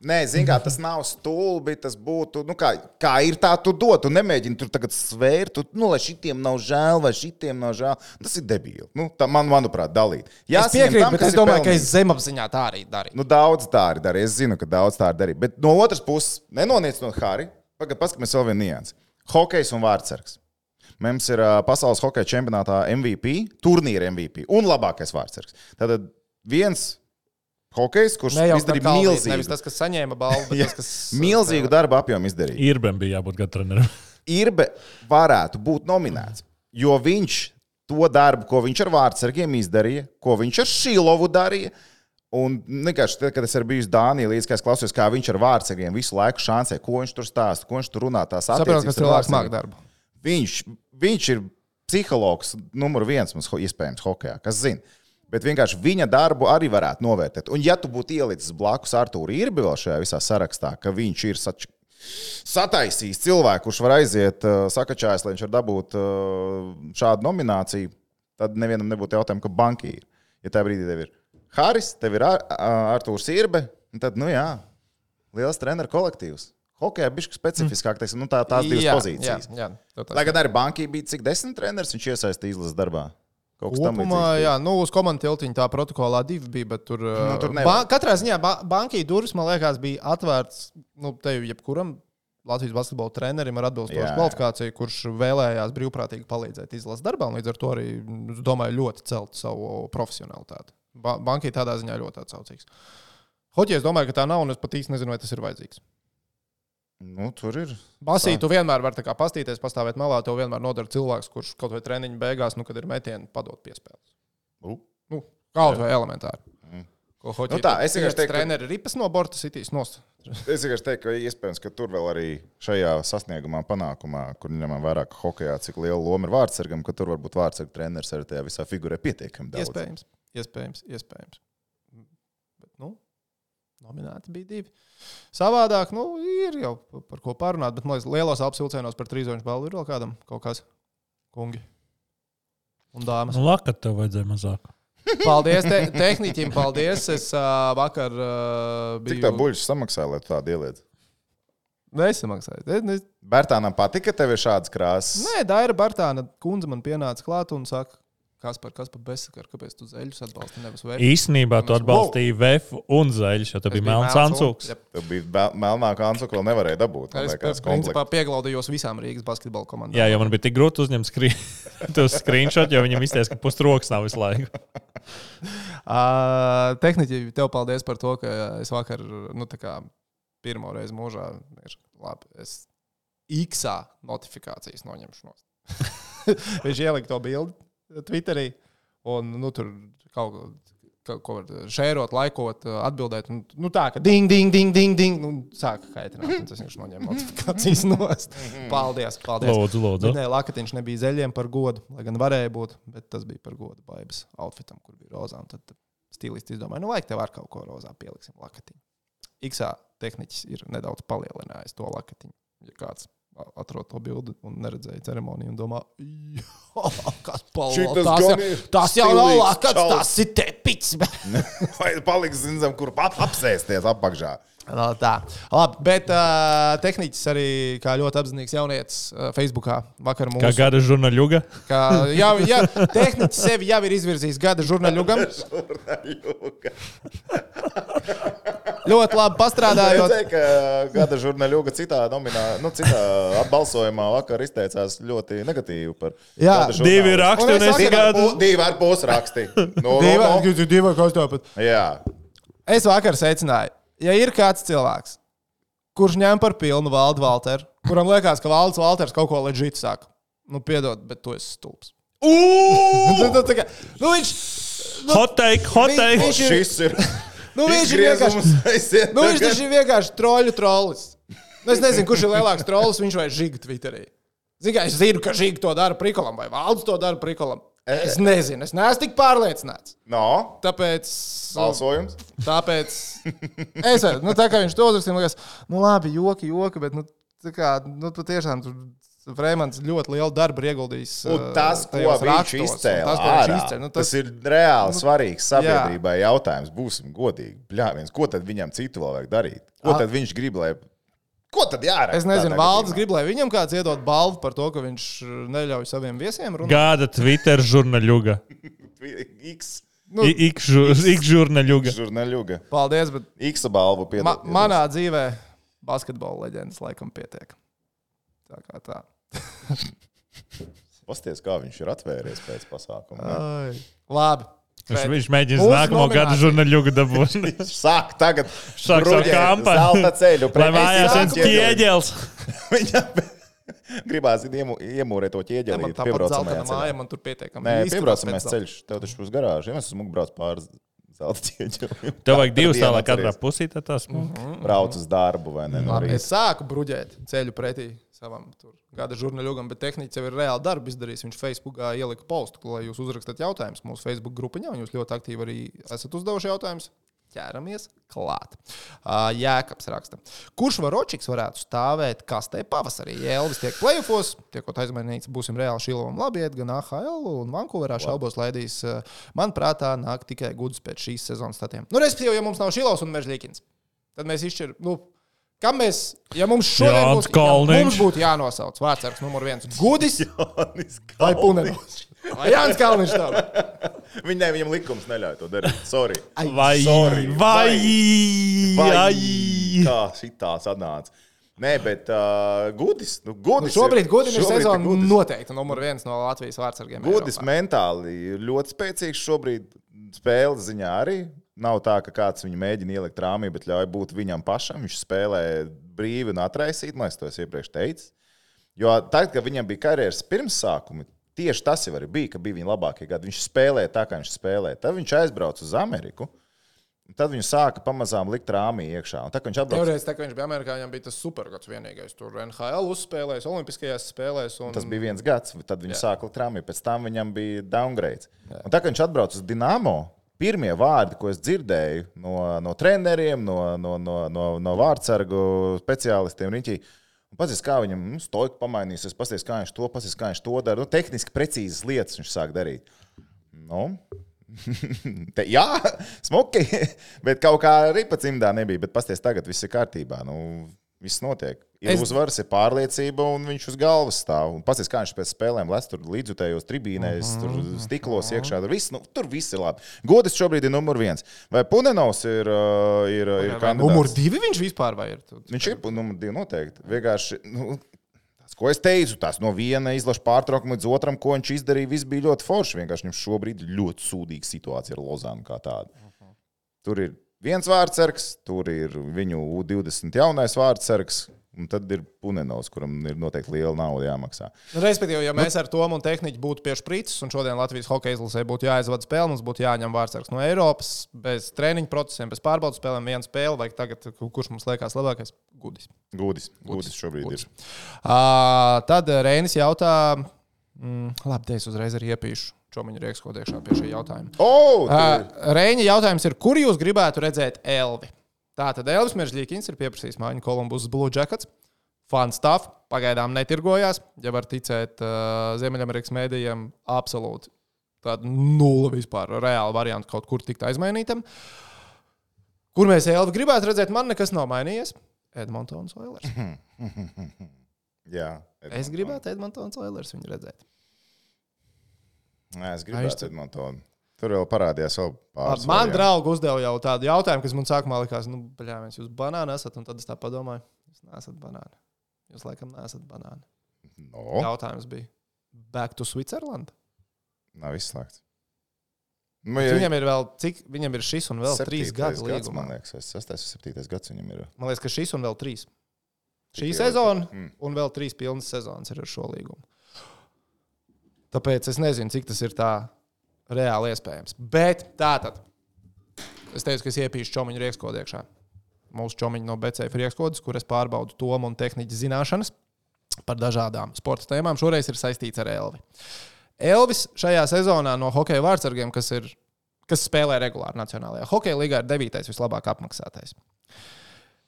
S3: Nē, zini, kā tas nav stulbi. Tas būtu, nu, kā, kā ir tā, tu dod, tu nemēģini tur tagad svērt, tu, nu, lai šitiem nav žēl, vai šitiem nav žēl. Tas ir debīli. Nu, tā man, manuprāt, dalīt. Jā,
S1: Es piekrītu, bet es domāju, ka es zemapziņā tā arī darīju.
S3: Nu, daudz tā arī darīja. Es zinu, ka daudz tā arī darīja. Bet no otras puses, nenoniecinot Hariju, pagaidiet, paskatieties vēl vienu niansu. Hokejs un vārdsargs. Mums ir ā, pasaules hokeja čempionātā MVP, turnīra MVP un labākais vārdsargs. Tad viens hokejs, kurš
S1: Ne jau par
S3: izdarīja
S1: kalnīt,
S3: milzīgu,
S1: nevis tas, kas saņēma balvu, bet tas, kas.
S3: milzīgu darbu apjomu, izdarīja.
S2: Irbēm bija jābūt gada trenerim.
S3: Irbe varētu būt nominēts, jo viņš to darbu, ko viņš ar vārdsargiem izdarīja, ko viņš ar Šilovu darīja. Un vienkārši, tad, kad es biju Dānijā, līdz kā es klausījos, kā viņš ar vārdsargiem visu laiku šansē, ko viņš tur stāsta, ko viņš tur runā, tās
S1: Saprotu,
S3: attiecības
S1: ka
S3: ar
S1: cilvēks
S3: vārdsargiem.
S1: māk darbu.
S3: Viņš, viņš ir psihologs numur viens mums, ho- iespējams, hokeja, kas zina. Bet vienkārši viņa darbu arī varētu novērtēt. Un, ja tu būtu ielicis blakus Arthūru Irbi vēl šajā visā sarakstā, ka viņš ir sač... sataisījis cilvēku, kurš var aiziet uh, sakačājis, lai viņš var dabūt uh, šādu nomināciju, tad nevienam nebūtu jautājumu, ka banki ir. Ja tajā brīdī tev ir Haris, tev ir Ar- Ā- Arthurs Irbe, un tad, nu jā, liels treneru kolektīvs. Hokejā bija specifiskāk, teiksim, nu tā, tās divas
S1: Jā,
S3: pozīcijas.
S1: Jā, jā, tā, tā.
S3: Lai gan arī bankī bija cik desmit treneris, viņš iesaistīja izlases darbā. Kaut kas tam
S1: Kopumā,
S3: līdzīgs.
S1: jā, nu, uz komandas tiltiņa tā protokolā divi bija, bet tur. Nu,
S3: tur nevar.
S1: ba katrā ziņā ba bankī durvis, man liekas, bija atvērts nu, te jau jebkuram Latvijas basketbola trenerim ar
S3: Jā, jā.
S1: atbilstošu kvalifikāciju, kurš vēlējās brīvprātīgi palīdzēt izlases darbā. un Līdz ar to arī, es domāju, ļoti celt savu profesionalitāti. Ba bankī tādā ziņā ļoti atsaucīgs. Hoķis, es domāju, ka tā nav, un es pat īsti nezinu, vai tas ir vajadzīgs.
S3: Nu, tur ir.
S1: Basīt, tu vienmēr vari tā kā pastīties, pastāvēt malā. Tev vienmēr noder cilvēks, kurš kaut vai treniņu beigās, nu, kad ir metieni, padod piespēles.
S3: Nu.
S1: Nu, kaut vai elementāri.
S3: Mm.
S1: Ko hoķi,
S3: Nu tā, es vienkārši teiktu, ka-
S1: treneri ripas no Borta Citīs nos.
S3: Es tikai teiktu, ka iespējams, ka tur vēl arī šajā sasniegumā, panākumā, kur ņemam vairāk hokeja, cik liela loma ir vārdsargam, ka tur varbūt vārdsarga treneris arī tajā visā figūrē pietiekami daudz.
S1: Iespējams, iespējams, iespējams. Bet, nu, nominēti bija divi. Savādāk, nu, ir jau par ko pārunāt, bet, man liekas, lielos apsilcienos par trīsdesmit balvu ir vēl kādam kaut kas kungi. Un dāmas.
S2: Laka, tev vajadzēja mazāk.
S1: Paldies te tehniķim, paldies. Es uh, vakar uh, biju.
S3: Cik tā buļķis samaksā, lai tu tādu ieliec?
S1: Nesamaksāju. Es, nu, es,
S3: Bērtānam patika, ka tev ir šāds krāsas.
S1: nē, Daira Bartāna kundze man pienāca klāt un saka, kas par kas par bezsakaru, kāpēc tu zeļus atbalsti nevis vērtību.
S2: Īsnībā tu
S1: Mēs-
S2: atbalstīji Vēfu un Zēļu, jo tev bija melns ancūks.
S3: Tev bija bel- melnā kanca, ko nevarēja dabūt. man
S1: Es
S3: liekas,
S1: pēc principā pieglaudījos visām Rīgas basketbalu komandām.
S2: Jā, jo man bija tik grūti uzņemt skrī... to screenshot, jo viņam izties, ka pusroks nav visu laiku.
S1: Uh, tehniķi, tev paldies par to, ka es vakar, nu, tā kā pirmo reizi mūžā, ir labi. Es X-ā notifikācijas noņemšu no. Viņš ielika to bildi Twitterī un nu, tur kaut ko. kaut Ko var šērot, laikot, atbildēt. Un, nu, tā kā ding, ding, ding, ding, ding. Nu, sāka kaitināt. un Tas viņš noņēma notifikācijas no. Paldies, paldies.
S2: Lūdzu,
S3: Nu.
S2: lūdzu.
S1: Bet Nē, Lakatiņš nebija zeļiem par godu, lai gan varēja būt, bet tas bija par godu baibas outfitam, kur bija rozā. un Tad stilists izdomāja, nu, vajag tev ar kaut ko rozā pieliksim lakatiņu. Iksā tehniķis ir nedaudz palielinājis to lakatiņu. Ja kāds a- atrod to bildi un neredzēja ceremoniju un domā, "Jā, kas
S3: Šitas gan ir
S1: palielinājās. Tas jau nav
S3: stilīgs
S1: lakats,
S3: čalis."
S1: tas ir tepiks.
S3: Vai paliks zinām, kur ap, apsēsties apakšā?
S1: No, tā. Labi, bet uh, tehniķis arī kā ļoti apzinīgs jaunietis uh, Facebookā vakar mums.
S2: Kā gada žurnāļuga.
S1: Kā, jau, jau, tehnici sevi jau ir izvirzījis gada žurnāļam. Ļoti labi
S3: Jūs
S1: pastrādājot.
S3: teicāt, ka gada žurnālūga citā, nominā- nu, citā balsojumā vakar izteicās ļoti negatīvi par
S1: Jā,
S3: gada žurnālu.
S2: Divi raksti
S1: Un
S2: un
S1: es
S2: es
S1: vakar
S2: gadu.
S3: Pu- Divi ar pusi raksti. No, no, no.
S1: Divi, divi, kas tāpat.
S3: Jā,
S1: Es vakar secināju, ja ir kāds cilvēks, kurš ņem par pilnu valdu Valteru, kuram liekas, ka valdes Valters kaut ko leģitāri saka, nu, piedod, bet tu esi stulbs. Nu, tā kā- nu, viņš,
S2: Hot take, hot
S1: Vi-
S2: take.
S1: viņš ir,
S3: šis ir.
S1: nu, viņš ir vienkārši, nu, viņš taču ir vienkārši troļu trolis. Nu, es nezinu, kurš ir lielāks trolis, viņš vai žiga Twitterī. Zinu, es zinu, ka žiga to dara prikolam vai valdes to dara prikolam.
S3: E,
S1: Es nezinu, es neesmu tik pārliecināts.
S3: No,
S1: Tāpēc,
S3: balsojums.
S1: tāpēc es domāju, nu, tā kā viņš to uzrakstīja, man liekas, nu, labi, joki, joki, bet, nu, tā kā, nu, patiešām tur Vrēmans ļoti lielu darbu ir ieguldījis.
S3: Un tas,
S1: eh,
S3: ko
S1: tajos
S3: viņš
S1: rakstos, un
S3: izcēla,
S1: tas, ko viņš
S3: ārā,
S1: izcēla, nu,
S3: tas ir reāli svarīgs
S1: jā.
S3: sabiedrībai jautājums. Būsim godīgi. Bļā, viens, ko tad viņam citu vēl vajag darīt? Ko
S1: Ah.
S3: tad viņš grib, lai. Ko tad jārāda?
S1: Es nezinu, Valdis grib, lai viņam kāds iedod balvu par to, ka viņš eh, neļauj saviem viesiem runāt.
S2: Gada Twitter žurnāļuga.
S3: X
S1: Nu,
S2: Ik žurnāļuga.
S3: žurnālūga.
S1: paldies, bet
S3: X balvu piedod.
S1: ma manā dzīvē basketbola leģendas laikam pietiek. Tā kā tā.
S3: Pasties, kā viņš ir atvēries pēc
S2: Ah.
S3: pasākuma.
S1: Ai. Labi.
S2: Viņš, viņš mēģina
S1: Mūsu
S2: nākamo gada
S1: nominācija.
S2: žurnāļugu dabūt.
S3: Viņš sāk tagad
S2: savu
S3: bruģēt
S2: kampaņu.
S3: Zelta ceļu.
S2: Lai
S3: pret
S2: mājās
S3: visiem
S2: ir
S3: ķieģeļiem.
S2: ķieģels.
S3: Viņam gribās iemu, iemūrēt to
S1: Ja
S3: ķieģeli.
S1: man tāpat zelta
S3: piebraucamajā ceļā.
S1: māja, man tur pietiekami.
S3: Nē,
S1: izskatās
S3: piebraucamais
S1: pēc zelta.
S3: ceļš. Tev taču būs garāža. Ja mēs esam brauc pāri zelta ķieģeļiem.
S2: Tev vajag divas
S3: Dienu
S2: tālāk, katrā
S3: atceries.
S2: pusē tas. Mm.
S3: Brauc uz darbu vai ne? No
S1: Labi,
S3: rīta.
S1: es sāku bruģēt ceļu pretī savam tur gada žurnālistam, bet tehnicis jau ir reāli darbu izdarījis. Viņš Facebookā ielika postu, lai jūs uzrakstītu jautājumus mūsu Facebook grupiņā, un jūs ļoti aktīvi arī esat uzdevuši jautājumus. Ķeramies klāt. Uh, Jēkabs raksta. Kurš varočiks varētu stāvēt kastē pavasarī? Ja Elvis tiek plēsofos, tiekot aizmainīts, būsim reāli šilovam labi iet, gan AHL un Vankūverā šaubos laidīs. Uh, Manuprāt, tā nāk tikai gudrs pēc šīs sezonas statiem. Nu, respektīvi, ja mums nav šilovs un mežģīkins, tad mēs izšķiram. Nu, Kam mēs, ja mums šodien
S2: Jānis
S1: būtu, ja
S2: Kalniņš.
S1: mums būtu jānosauc vārdsargs numur viens - Gudis
S3: Jānis
S1: vai
S3: Kalniņš.
S1: Punenis? Vai Jānis Kalniņš tam?
S3: Viņai ne, viņam likums neļauj to darīt. Sorry.
S2: Vai,
S3: Sorry.
S2: vai,
S3: Vai
S2: vai.
S3: Tā šitā sanāca. Nē, bet uh, gudis. Nu,
S1: Nu,
S3: gudis
S1: šobrīd Gudim ir
S3: šobrīd
S1: sezona nu-
S3: Gudis.
S1: noteikti numur viens no Latvijas vārdsargiem.
S3: Gudis
S1: Eiropā.
S3: mentāli ir ļoti spēcīgs šobrīd, spēles ziņā arī. Nav tā, ka kāds viņu mēģina ielikt rāmī, bet ļauj būt viņam pašam. Viņš spēlē brīvi un atraisīt, lai es to es iepriekš teicu. Jo tagad, kad viņam bija karjeras pirmsākumi, tieši tas jau arī bija, ka bija viņa labākie gadi. Viņš spēlēja tā, kā viņš spēlēja. Tad viņš aizbrauca uz Ameriku. un Tad viņš sāka pamazām likt rāmī iekšā. Un tā, kad viņš atbrauca,
S1: Toreiz, tā, kad viņš bija Amerikā, viņam bija tas supergads vienīgais. Tur NHL uzspēlējis, Olimpiskajās spēlēs. Un...
S3: tas bija viens gads, tad viņš sāka likt rāmī, pēc tam viņam bija downgrades. Un tā, kad viņš atbrauca uz Dienāmo, pirmie vārdi, ko es dzirdēju no, no treneriem, no, no, no, no, no vārdsargu speciālistiem, riņķī. Pats kā viņam nu, stojka pamainījis, es paskatījos, kā viņš to, paskatījos, kā viņš to dara. Nu, tehniski precīzas lietas viņš sāk darīt. Nu, Te, jā, smuki. Bet kaut kā arī pa cimdā nebija. Bet pasties tagad viss ir kārtībā. Nu, viss notiek. Ir
S1: Es-
S3: es... uzvaras, ir pārliecība, un viņš uz galvas stāv. Un pasties, kā viņš pēc spēlēm lec tur līdzutējos tribīnēs, tur stiklos iekšā. Tur viss, nu, tur viss ir labi. Godis šobrīd ir numur viens. Vai Punenovs ir, uh, ir, ir
S1: Numur
S3: kandidāts?
S1: divi viņš vispār vai ir?
S3: Viņš ir pu- numur divi noteikti. Vienkārši. Nu, tas, Ko es teicu, tas no viena izlaša pārtraukuma līdz otram, ko viņš izdarīja, viss bija ļoti forši. Vienkārši viņam šobrīd ir ļoti sūdīga situācija ar Lozānu kā tādu. Tur ir viens vārdsargs, tur ir viņu U20 jaunais vārdsargs, un tad ir Punenovs, kuram ir noteikti liela nauda jāmaksā.
S1: Nu, Respektīvi, ja mēs ar Tomu un Tehniku būtu pie sprīces, un šodien Latvijas hokeja izlasē būtu jāizvada spēle, mums būtu jāņem vārdsargs no Eiropas, bez treniņu procesiem, bez pārbaudas spēlēm, viena spēle, vai tagad, kurš mums liekas labākais, gudis.
S3: Gudis, gudis šobrīd gudis.
S1: Gudis.
S3: ir.
S1: Ā, Tad Rēnis jautā, mm, labi, te es uzreiz arī iepīšu Čomiņu Rieksko iekšā pie šī jautājuma.
S3: Oh,
S1: Ā, Rēņa jautājums ir, kur jūs gribētu redzēt Elvi? Tātad Elvis Meržģīkins ir pieprasījis mājiņu Kolumbus Blue Jackets. Fans stāv pagaidām netirgojās, ja var ticēt uh, Ziemeļamerikas mēdījiem, absolūti tāda nula vispār reāla varianta kaut kur tikt aizmainītam. Kur mēs Elvi gribētu redzēt, man nekas nav mainījies. Edmunds Oilers.
S3: jā,
S1: Es gribētu Edmunds Oilers viņu redzēt.
S3: Nē,
S1: Aiz-
S3: es gribētu Edmontonu. Tur vēl parādījās vēl
S1: Labi,
S3: pāris.
S1: man
S3: varianti.
S1: draugi uzdeva jau tādu jautājumu, kas man sākumā likās, nu, blēņas, jūs banāni esat, un tad es tā padomāju, jūs neesat banāni. Jūs laikam neesat banāni.
S3: No.
S1: Oh. Jautājums bija. Back to Switzerland.
S3: Nav izslēgts. Nu,
S1: Ja viņam ir vēl, cik viņam ir šis un vēl trīs gadi.
S3: gads,
S1: līgumā.
S3: man liekas, vai sastais vai septītais gads viņam ir.
S1: Man liekas, ka šis un vēl trīs. Šī
S3: Tik jau-
S1: sezona
S3: Mm.
S1: un vēl trīs pilnas sezonas ir ar šo līgumu. Tāpēc es nezinu, cik tas ir tā reāli iespējams. Bet tā tad. Es teicu, ka es iepīšu čomiņu riekskodē iekšā. Mūsu čomiņi no BCF riekskodas, kur es pārbaudu tomu un tehniķu zināšanas par dažādām sporta tēmām. Šoreiz ir saistīts ar Elvi. Elvis šajā sezonā no hokeja vārdsargiem, kas, ir, kas spēlē regulāri Nacionālajā hokeja līgā, ir devītais vislabāk apmaksātais.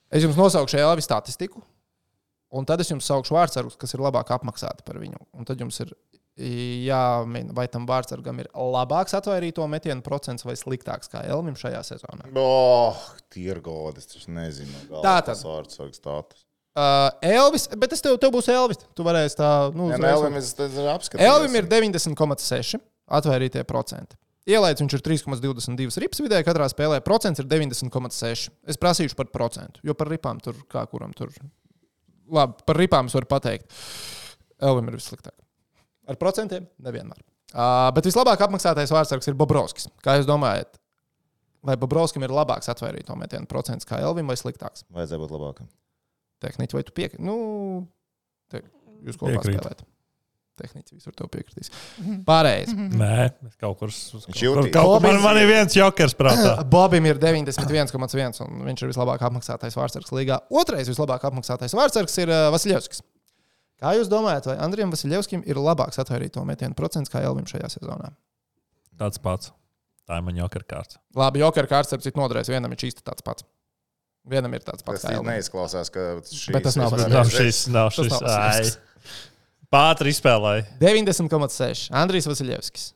S1: Es jums nosaukšu Elvis statistiku, un tad es jums saukšu vārdsargus, kas ir labāk apmaksāti par viņu. Un tad jums ir jāmin, vai tam vārdsargam ir labāks atvairīto metienu procents vai sliktāks kā Elmim šajā sezonā.
S3: Oh, tie ir godi, es taču nezinu. galvā
S1: Tā
S3: tas
S1: tad.
S3: Vārdsargs status.
S1: Uh, Elvis, bet es tev, tev būs Elvis. Tu varēsi tā, nu,
S3: Jā, nē,
S1: uzreiz-
S3: Elvim es tad apskatīju.
S1: Elvis ir 90,6 atvairītie procenti. Ielaicis viņš ir 3,22 rips vidē, katrā spēlē procents ir 90,6. Es prasīšu par procentu, jo par ripām tur kā kuram tur. Labi, par ripām es varu pateikt. Elvis ir vissliktāk. Ar procentiem nevienmēr. Uh, bet vislabāk apmaksātais vārdsargs ir Bobrovskis. Kā jūs domājat, vai Bobrovskim ir labāks atvairīto metienu procents kā Elvis vai sliktāks?
S3: Vajadzēja būt labākam.
S1: Tehniķi, vai tu piekrīti? Nu, te, jūs kopā
S2: Piekrītu.
S1: spēlējat. Tehniķis visur tev piekritīs. Pārējais.
S2: Nē, es kaut kur. uz-
S3: Viņš
S2: kaut kur-
S3: jūtīs.
S2: kaut kur- Man,
S1: Bobis-
S2: man ir viens jokers prātā.
S1: Bobam ir 91,1 un viņš ir vislabāk apmaksātais vārdsargs līgā. Otrais vislabāk apmaksātais vārdsargs ir uh, Vasiljevskis. Kā jūs domājat, vai Andrijam Vasiljevskim ir labāks atvairīto metienu procents kā Elvim šajā sezonā?
S2: Tāds pats. Tā ir man jokera kārta.
S1: Labi, Joker kārtas ar citu nodarēs. Vienam ir īsti tāds pats. Vienam ir tāds pats.
S3: Tas
S1: kā
S3: ir
S1: Elvim.
S3: neizklausās, ka šī
S1: Bet tas nav
S2: Tas
S1: Pareizi.
S2: nav šis, nav šis.
S1: nav
S2: ai.
S1: Vasiljevskis.
S2: Pātri izspēlēja.
S1: 90,6. Andrijs Vasiljevskis.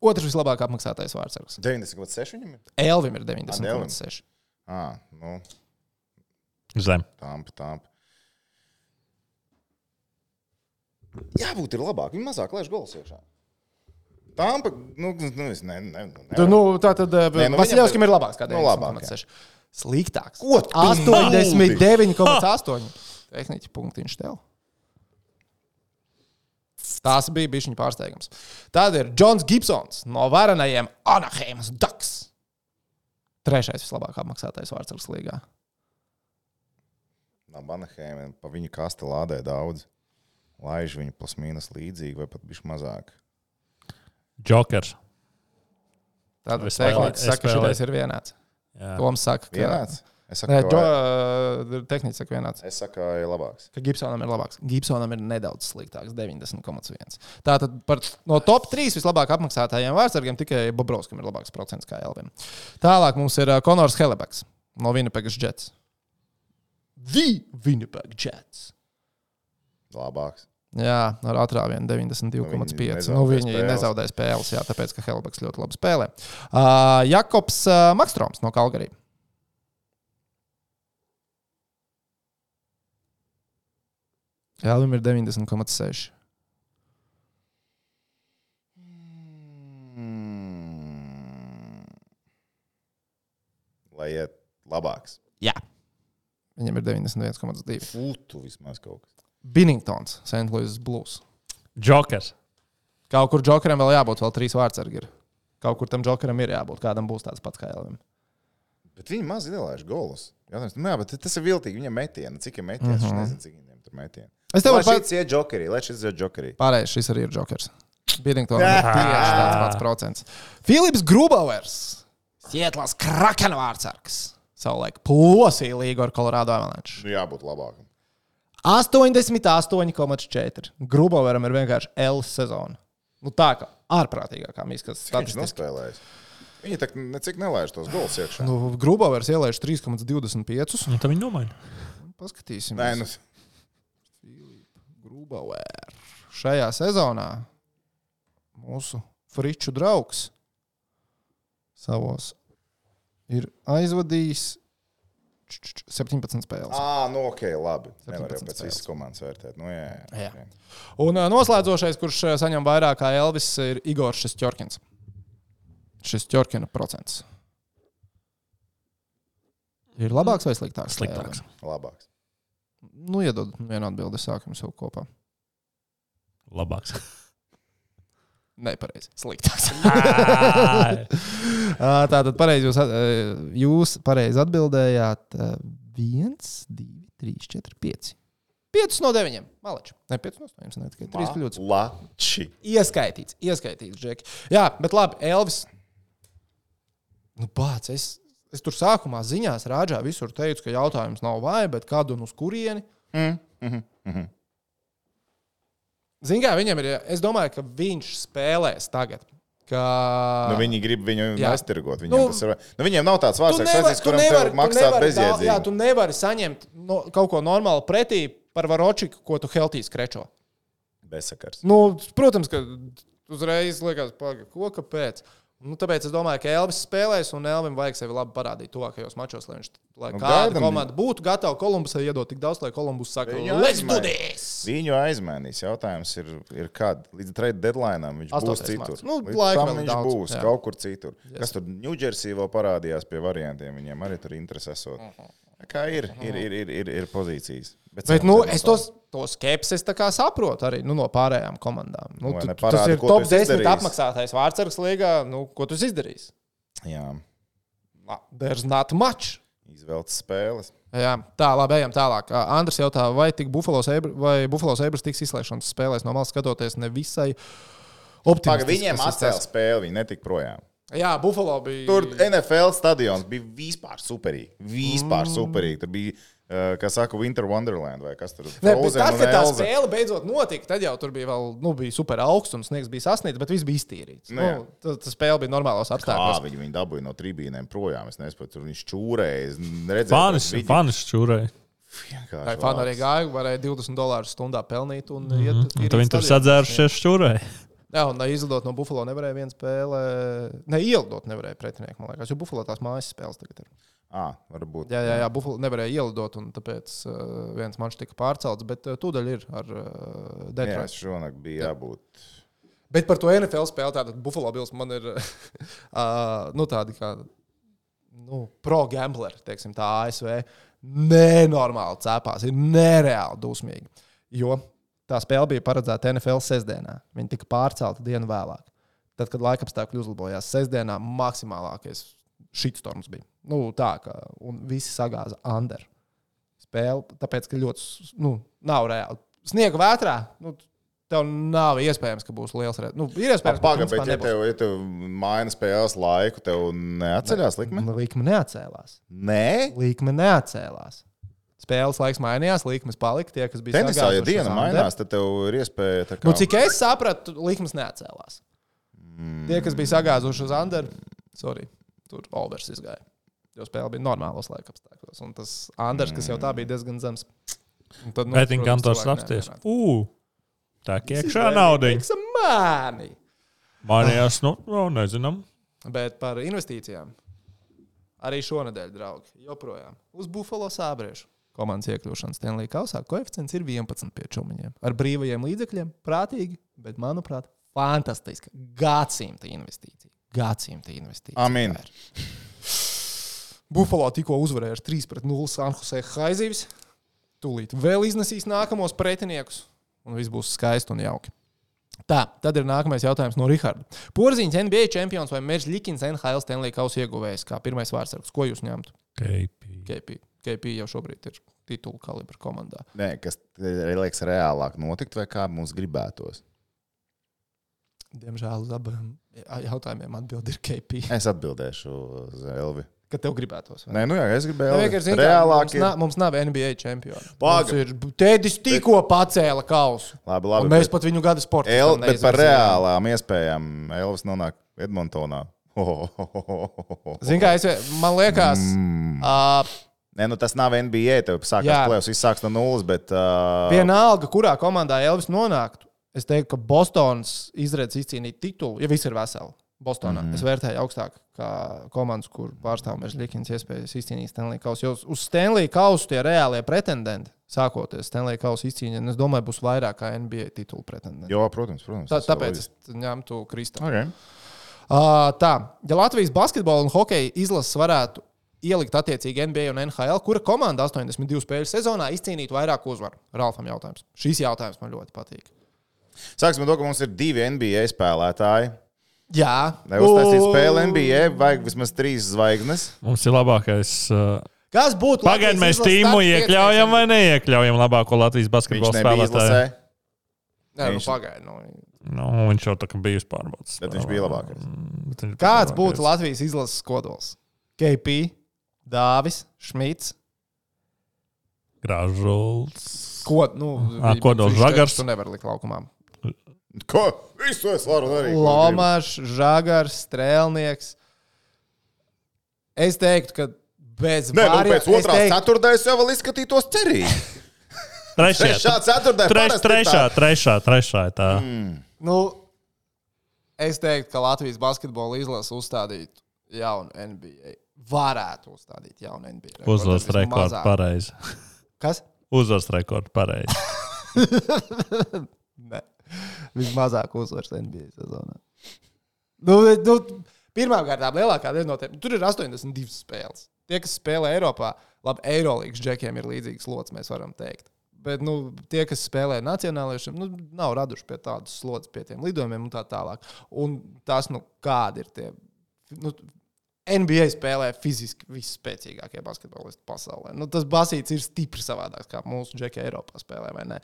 S1: Otrs vislabāk apmaksātais vārdsargs.
S3: 90,6 viņam ir.
S1: Elvim ir 90,6.
S3: Ah, nu,
S2: Zem.
S3: tampa, tampa. Jābūt ir labāk, viņi mazāk laiž gols iekšā. Tampa, nu, nu es ne, ne, ne.
S1: Tu, nu, tā tad
S3: Nē, nu,
S1: Vasiljevskim
S3: viņam-
S1: ir labāks kā
S3: Nu, labāk,
S1: 90,6. Sliktāks.
S3: Ko tu
S1: 89,8. Tehniķi punktiņš tev. Tās bija bijušas pārsteigums. Tad ir Jans Gibsons no varenajiem Anaheimas Ducks. Trešais vislabāk apmaksātais vārdsargs līgā.
S3: No Banaheimiem pa viņu kasta lādē daudz. Laiž viņu plus mīnus līdzīgi, vai pat bišķi mazāk.
S2: Jokers.
S1: Tātad
S2: Es spēlēju,
S1: tehnicis
S2: es
S1: saka, ka
S2: spēlēju.
S1: šis ir vienāds.
S2: Jā.
S1: Toms saka, ka
S3: Vienāds? Es saku,
S1: Nē,
S3: ka
S1: to,
S3: vai-
S1: uh, tehnicis saka vienāds.
S3: es saku, ka ir labāks.
S1: ka Gibsonam ir labāks. Gibsonam ir nedaudz sliktāks, 90,1. Tātad par, no top 3 vislabāk apmaksātajiem vārdsargiem tikai Bobrovskam ir labāks procents kā Elvim. Tālāk mums ir uh, Konors Helebeks no Vinnepegas Jets. The Winnipeg Jets.
S3: Labāks.
S1: Jā, ar atrāvienu
S3: Nu, viņi
S1: 92,5.
S3: nezaudē
S1: Nu, viņi
S3: spēles.
S1: nezaudēja spēles, jā, tāpēc, ka Helbeks ļoti labi spēlē. Uh, Jakobs uh, Makstroms no Kalgarī. Jā, viņam ir 90,6.
S3: Mm. Lai iet labāks.
S1: Jā. Viņam ir 91,2.
S3: Fūtu vismaz kaut kas.
S1: Binningtons, St. Louis Blues.
S2: Jokers.
S1: Kaut kur džokeram vēl jābūt, vēl trīs vārdsargi ir. Kaut kur tam džokeram ir jābūt, kādam būs tāds pats kā Elvis.
S3: Bet viņi maz ielaiž golus. Jautājums, nu jā, bet tas ir viltīgi. Viņam metieni, cik ir metieni, mm -hmm. es nezinu, cik viņiem tur metieni.
S1: Es Mhm. tev
S3: Lai
S1: varu
S3: šis iet jokerī, lai šis iet jokerī.
S1: Pārējais šis arī ir Jokers. Binningtonam ir tieši tāds pats procents. Filips Grubauers, Sietlas Krakena vārdsargs. Savulaik plosīja līgu ar Colorado Avalanche.
S3: Nu, jābūt labākam.
S1: 88,4. Grubaueram ir vienkārši L sezona. Nu tā kā ārprātīgākām izskatās
S3: Viņš
S1: statistiski.
S3: nospēlējas. Viņi tā necik nelaiž tos golus iekšā.
S1: Nu, Grubauers ielaiž 3,25.
S2: Nu, tad viņi nomaina.
S1: Paskatīsimies.
S3: Nē, nu,
S1: Grubauer. Šajā sezonā mūsu friču draugs savos ir aizvadījis č- č- č- 17 spēles.
S3: à, nu ok, labi. Nevar jau
S1: 17
S3: pēc visas komandas vērtēt. Nu, jā, jā.
S1: Jā.
S3: ok.
S1: Un ā, noslēdzošais, kurš ā, saņem vairāk kā Elvis, ir Igors Šestjorkins. Šis Jorkina procents. Ir labāks vai sliktāks? kā Elvis?
S2: Sliktāks.
S3: Labāks.
S1: Nu, iedod vienu atbildi, sākam jau kopā.
S2: Labāks.
S1: Nepareizi. Sliktāks.
S2: Ā,
S1: Ā, Tātad pareizi jūs, at- ā, jūs pareizi atbildējāt. 1, 2, 3, 4, 5. 5 no 9. Malači. Ne 5 no 8. Ne tikai 3 kļūdas.
S3: Lači.
S1: Ieskaitīts, ieskaitīts, Džeki. Jā, bet labi, Elvis. Nu, pats es, es tur sākumā ziņās rāžā visur teicu, ka jautājums nav vai, bet kad un uz kurieni. Ziniet, kā viņam ir. Es domāju, ka viņš spēlēs tagad. Ka...
S3: Nu, viņi grib viņu
S1: Jā.
S3: aiztirgot. Viņiem,
S1: Nu,
S3: nu, ir... nu, viņiem nav tāds
S1: Tu
S3: vārds,
S1: nevari-
S3: kas
S1: tu
S3: kuram
S1: nevari-
S3: tev
S1: tu
S3: maksāt
S1: nevari dal- Jā,
S3: bezjēdzīgi.
S1: tu nevari saņemt no, kaut ko normālu pretī par varočiku, ko tu Heltijas krečo.
S3: Bezsakars.
S1: Nu, protams, ka uzreiz liekas, paga, ko kāpēc. Nu, tāpēc es domāju, ka Elvis spēlēs, un Elvis vajag sevi labi parādīt tuvākajos mačos, lai viņš lai
S3: Nu,
S1: nu, kāda
S3: gaidam
S1: komanda būtu gatava Kolumbusai iedot tik daudz, lai Kolumbus saka,
S3: Viņu
S1: let's do
S3: aizmaina.
S1: this!
S3: Viņu aizmainīs. Jautājums ir, ir kad līdz trade deadline viņš būs
S1: Astotais
S3: citur.
S1: marts. Nu,
S3: Līdz
S1: laika
S3: tam
S1: vēl
S3: viņš
S1: daudz,
S3: būs
S1: jā.
S3: kaut kur citur. Yes. Kas tur Ņūdžersī vēl parādījās pie variantiem, viņiem arī tur interesēsot. Tā Kā ir, ir, ir, ir, ir, ir pozīcijas.
S1: Bet, nu, es tos, to skepsis tā kā saprotu arī nu, no pārējām komandām. Nu,
S3: Vai
S1: tu,
S3: ne
S1: tu, tas
S3: parādi,
S1: ir
S3: ko
S1: top
S3: tu esi
S1: 10
S3: izdarījis?
S1: apmaksātais vārdsargs līgā. Nu, ko tu izdarīsi?
S3: Jā, Ah,
S1: Ma- There's not much.
S3: izvēlēt spēles.
S1: Jā, tā, labi, ejam tālāk. Ā, Andris jautā, vai tik Buffalo Sabres tiks izslēgšanas spēlēs no malas skatoties nevisai
S3: Paga,
S1: optimistiski.
S3: viņiem atcēla spēli, viņi netika projām.
S1: Jā, Buffalo bija.
S3: Tur NFL stadions bija vispār superīgi. Vispār superīgi. Tur bija, eh, kā saka, Winter Wonderland vai kas tur
S1: Ne, bet tad, kad tā
S3: Elze.
S1: spēle beidzot notika, tad jau tur bija vēl nu, bija super augsts un sniegs bija sasniegts, bet viss bija iztīrīts.
S3: Nu,
S1: Nu,
S3: jā.
S1: tā, tā spēle bija normālos
S3: Kā
S1: apstākļos.
S3: viņi viņu dabūja no tribīnēm projām? Es nesaprotu, tur viņš čūrēja. es Redzēju,
S2: Fanis,
S3: tos video.
S2: fanis čūrēja.
S3: Vienkārši
S1: Vai fani
S3: vārds.
S1: arī gāja, varēja 20 dolārus stundā pelnīt un mm -hmm. iet uz
S2: Un tad viņi tur sadzērušies čūrēja.
S1: Jā, un izlidot no Buffalo nevarēja viena spēle. Ne, ielidot nevarēja pretiniekam, man liekas, jo Buffalo tās mājas spēles tagad ir.
S3: Ā, varbūt.
S1: Jā, jā, jā Buffalo nevarēja ielidot, un tāpēc uh, viens mačs tika pārcelts, bet uh, tūdaļ ir ar uh,
S3: Jā,
S1: Detroitu.
S3: šonakt bija jābūt.
S1: Bet par to NFL spēli tātad Buffalo Bills man ir uh, nu, tādi kā nu, pro-gambleri, teiksim, tā ASV. Nenormāli cēpās, ir nereāli dusmīgi. Jo tā spēle bija paredzēta NFL sestdienā. Viņa tika pārcelta dienu vēlāk. Tad, kad laikapstākļi uzlabojās, sestdienā maksimālākais shitstorms bija. Nu, tā kā un visi sagāza Anderu spēli, tāpēc, ka ļoti s- nu, nav reāli. Sniega vētrā. Nu, Tev nav iespējams, ka būs liels redzes. Nu, ir iespējams,
S3: Pagaidām,
S1: principā
S3: bet ja
S1: nebūs.
S3: tev, ja tev maina spēles laiku, tev neatceļās likme?
S1: Līkme Nu, neatcēlās.
S3: Nē,
S1: Līkme neatcēlās. Spēles laiks mainījās, līkmes palika tie, kas bija.
S3: tenisā, ja
S1: sagāzušas
S3: diena
S1: Anderu.
S3: mainās, tad tev ir iespēja. tā kā-
S1: Nu, cik es sapratu, līkmes neatcēlās. Mm. Tie, kas bija sagāzuši uz Andru, sorry, tur Olvers izgāja. Jo spēle bija normālos laika apstākļos. Un tas Andrs, kas jau tā
S3: Mm.
S1: bija diezgan zems. Un Tad, nu,
S2: Mētiņa
S1: protams,
S2: kantors
S1: cilvēki
S2: apsties.
S1: nevienādi.
S2: Ugh! Tā kā iekšā naudiņa.
S1: Tiks Mani!
S3: Ah.
S2: Manījās, nu, nu, nezinām.
S1: Bet par investīcijām. Arī šonadēļ, draugi, joprojām uz Buffalo sābriešu komandas iekļūšanas Stanley Kausā koeficients ir 11 pie čūmiņiem. Ar brīvajiem līdzekļiem, prātīgi, bet, manuprāt, fantastiska gadsimta investīcija. Gadsimta investīcija.
S3: Amin.
S1: Buffalo tikko uzvarēja ar 3-0 Sanhuzē Haizivs. Tūlīt vēl iznesīs nākamos pretiniekus, un viss būs skaisti un jauki. Tā, tad ir nākamais jautājums no Riharda. Porziņš NBA čempions vai Mērs Likins NHL Stanley Kausa ieguvējs kā pirmais vārsakas? Ko jūs ņemtu?
S2: KP.
S1: KP. KP jau šobrīd ir titula kalibra komandā.
S3: Nē, kas ir liekas reālāk notikt, vai kā mums gribētos.
S1: Diemžēl uz abiem jautājumiem atbild ir KP.
S3: Es atbildēšu uz Elvi.
S1: Kad tev gribētos? vai ne?
S3: Nē, nu jā, es gribēju.
S1: Nē,
S3: Elvi.
S1: vienkārši zini, kā,
S3: Reālāk
S1: mums,
S3: ir.
S1: nav, mums nav NBA čempiona.
S3: Paga.
S1: Mums ir Tēdis tikko pacēla kausu.
S3: Labi,
S1: Un
S3: labi.
S1: Mēs
S3: bet-
S1: pat viņu gada sportā.
S3: El, bet par reālām iespējām Elvis nonāk Edmontonā.
S1: Zini, kā es, man liekas,
S3: Mm.
S1: uh,
S3: Nē, nu tas nav NBA. Tev
S1: Jā.
S3: sākās plēsoņas, viss sāks no nulles. Bet, uh,
S1: vienalga, kurā komandā Elvis nonāktu, es teiktu, ka Bostonas izredzes izcīnīt titulu, ja viss ir veseli. Bostonā
S3: Mhm.
S1: mm. es vērtēju augstāk, kā komandas, kur pārstāv Mežģīkins, iespējas izcīnīt Stanley Kausu. Jo uz Stanley Kausu tie reālie pretendenti, sākoties Stanley Kausu izcīņā, es domāju, būs vairāk kā NBA titulu pretendenti.
S3: Jo, protams, protams.
S1: Tā,
S3: tas ir
S1: tāpēc
S3: loģiski.
S1: es ņemtu Kristā.
S3: Okay.
S1: Uh, tā, ja Latvijas basketbola un hokeja izlases varētu ielikt attiecīgi NBA un NHL, kura komanda 82 spēļu sezonā izcīnītu vairāk uzvaru? Ralfam jautājums. Šīs jautājums man ļoti patīk.
S3: Sāksim ar to, ka mums ir divi NBA spēlētāji.
S1: Jā,
S3: Lai uztaisītu
S1: U-
S3: spēli NBA, vajag vismaz trīs zvaigznes.
S2: Mums ir labākais. Uh,
S1: Kas būtu
S2: Pagaidiet, mēs tīmu iekļaujam vai neiekļaujam labāko Latvijas
S3: Viņš
S2: basketbola
S3: nebija izlasē,
S2: spēlētāju.
S1: Nē, nu,
S3: Viņš-
S1: pagaidi, nu.
S2: Nu, viņš jau tā kā bija Mm, pārbaudas.
S3: bet viņš bija labākais.
S1: Kāds būtu Latvijas izlases kodols? KP, Dāvis, Šmits.
S2: Gražulis.
S1: Ko, nu,
S2: Ā, kodols
S1: viņš teica,
S2: Žagars.
S1: Tu nevari likt laukumā.
S3: Ko? Visu es varu darīt. ko gribu.
S1: Lomačs, Žagars, Strēlnieks. Es teiktu, ka bez
S3: Nē, nu,
S1: Bārja-
S3: pēc otrās
S1: es
S3: teiktu...
S1: teiktu,
S3: ceturtdaļas jau vēl izskatītos cerīgi.
S2: Trešā,
S3: Trešā Mm, ceturtdaļa.
S2: treš, trešā, trešā, trešā. ir Tā.
S1: nu, es teiktu, ka Latvijas basketbola izlase uzstādītu jaunu NBA. Varētu uzstādīt jaunu NBA. rekordu,
S2: Uzvaras
S1: vismazāk.
S2: rekords pareizi.
S1: Kas?
S2: Uzvaras rekords pareizi.
S1: Nē. Vismazāk uzvaras NBA sezonā. Nu, bet, nu, Pirmkārt, lielākā daļa no tiem tur ir 82 spēles. Tie, kas spēlē Eiropā, labi, Eirolandes džekiem ir līdzīgs slots, mēs varam teikt. Bet nu, tie, kas spēlē nacionāliešiem, nu, nav raduši pie tādas slodzes, pie tiem lidojumiem un tā tālāk. Un tas, nu, kādi ir tie. Nu, NBA spēlē fiziski visspēcīgākie basketbolisti pasaulē. Nu, tas basīts ir stipri savādāks, kā mūsu džeki Eiropā spēlē. vai ne?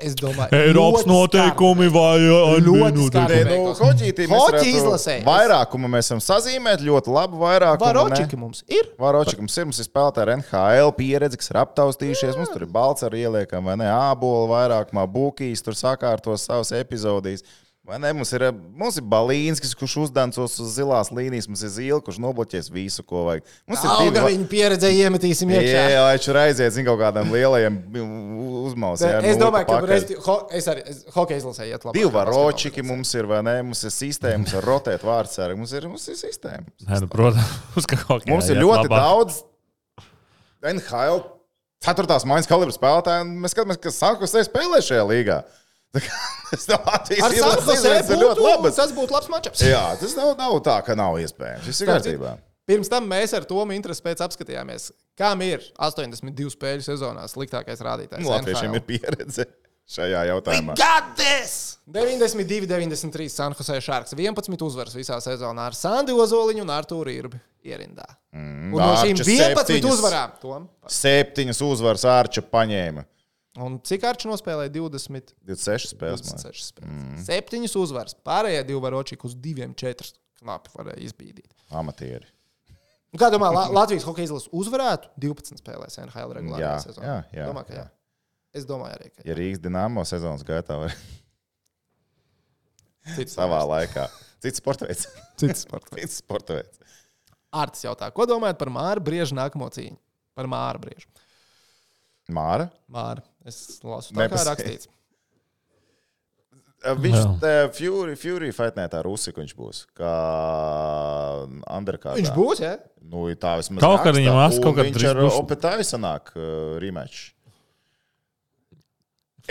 S1: Es domāju,
S2: Eiropas
S1: ļoti skarbi.
S2: noteikumi vai uh,
S1: Ļoti
S3: Nē,
S1: skarbi.
S2: minūtes.
S3: nu, hoķītī mēs
S1: Hoķi
S3: varētu-
S1: izlasē. Es-
S3: Vairākumu mēs esam sazīmēt, ļoti labu vairākumu.
S1: Varočiki mums ir.
S3: Varočikam ir mums ir spēlētāji ar NHL pieredzi, kas ir aptaustījušies. Mums tur ir balts ar ieliekam, vai ne? Ābola vairākumā būkīs, tur sakārtos savas epizodijas. Vai ne? Mums ir, mums ir Balīnskis, kurš uzdancos uz zilās līnijas, mums ir Zīle, kurš nobloķēs visu, ko vajag. Mums ir
S1: Auga
S3: divi.
S1: viņa pieredze iemetīsim iekšā.
S3: Jā, lai viņš aiziet zin, kaut kādam lielajam uzmausmam.
S1: Es domāju, ka resti, ho, es arī es, hokeja izlasē iet labi.
S3: nu, Divi varočiki mums ir, vai ne? Mums ir sistēma, mums ir rotēt vārdsargi, mums ir, mums ir sistēma.
S2: Nē, nu, protams, ka kaut kā
S3: Mums ir ļoti daudz NHL 4. maijas kalibra spēlētāju, un mēs skatāmies, kas sākotnēji spēlē šajā līgā. Tā kā Tas nav
S1: Ar Sanhosē
S3: ir ļoti labi.
S1: Tas būtu labs mačs.
S3: Jā, tas nav, nav tā, ka nav iespējams. Viss ir
S1: Starp citu,
S3: kārtībā.
S1: Pirms tam mēs ar Tomu interesi pēc apskatījāmies, kam ir 82 spēļu sezonā sliktākais rādītājs.
S3: Nu, Latviešiem
S1: NHL.
S3: ir pieredze. šajā jautājumā.
S1: Got this! 92, 93 Sanhosē Šārks. 11 uzvaras visā sezonā ar Sandu Ozoliņu un Artūru Irbi ierindā. Mm, un no šīm
S3: Arča
S1: 11
S3: septiņas.
S1: uzvarām. Tom.
S3: Septiņas uzvaras Arča paņēma.
S1: Un cik Arčs nospēlēja 20?
S3: 26 spēles. man liekas.
S1: 26 spēles. Mm. 7 uzvaras. Pārējie divi varočīki uz 2-4 knapi varēja izbīdīt.
S3: Amatieri.
S1: Nu, Kā domā, La Latvijas hokeja izlase uzvarētu 12 spēlēs NHL regulārā
S3: Jā,
S1: sezonā?
S3: jā, jā,
S1: domā, ka jā.
S3: jā.
S1: Es domāju, arī ka
S3: Ja Rīgas dīnāmo sezonas gaitā var
S1: cits
S3: savā laikā. Cits sporta veids.
S1: Cits sports.
S3: Cits sporta veids.
S1: Arts jautā, ko domājat par Māra Brieža nākamo cīņu? Par Māra Briežu.
S3: Māra.
S1: Māra, es lasu tā kā
S3: Nepasē-
S1: rakstīts.
S3: Viņš
S2: Jā.
S3: te Fury, Fury fightnē tā rusi, viņš būs. Kā undercard.
S1: Viņš būs, jā?
S3: Nu, tā vismaz.
S2: Kaut kad
S3: raksta,
S2: viņam ats,
S3: un
S2: kaut kad
S3: Viņš
S2: drīz
S3: ar
S2: būs.
S3: Opetāju sanāk uh, rematch.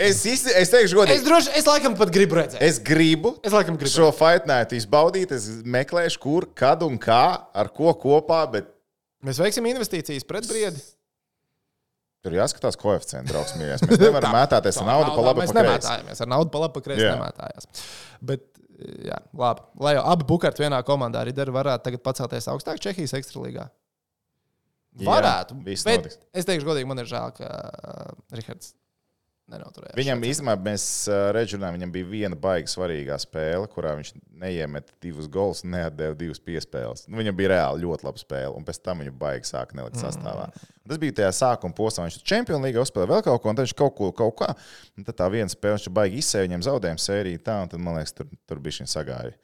S3: Es, īsti, es teikšu
S1: Es
S3: godīgi.
S1: droši, es laikam pat gribu redzēt.
S3: Es gribu
S1: Es laikam gribu.
S3: šo fightnētu izbaudīt. Es meklēšu, kur, kad un kā, ar ko kopā, bet
S1: Mēs veiksim investīcijas pret briedi.
S3: tur jāskatās koeficienti, draugs mīļais. Mēs nevaram mētāties ar naudu pa labi
S1: Mēs
S3: pa kreisi.
S1: nemētājāmies. Ar naudu pa labi pa kreisi
S3: Jā.
S1: nemētājās. Bet, eh, jā, labi. Lai jau abi bukārti vienā komandā arī dara, varētu tagad pacelties augstāk Čehijas ekstralīgā.
S3: Jā,
S1: Varētu.
S3: viss
S1: bet
S3: notiks.
S1: es teikšu godīgi, man ir žēl, ka uh, Rihards nenoturējās.
S3: Viņam īstenībā mēs ā, reģionā viņam bija viena baigta svarīgā spēle, kurā viņš neiemeta divus gols, neatdeva divas piespēles. Nu, viņam bija reāli ļoti laba spēle, un pēc tam viņa baigta sāka nelikt sastāvā. Un tas bija tajā sākuma posmā. Viņš Champions League uzspēlēja vēl kaut ko, un tad viņš kaut ko kaut kā. un Tad tā viena spēle, viņš baigi izsēja viņam zaudējumu sēriju, tā, un tad man liekas, tur, tur bija viņa sagāja.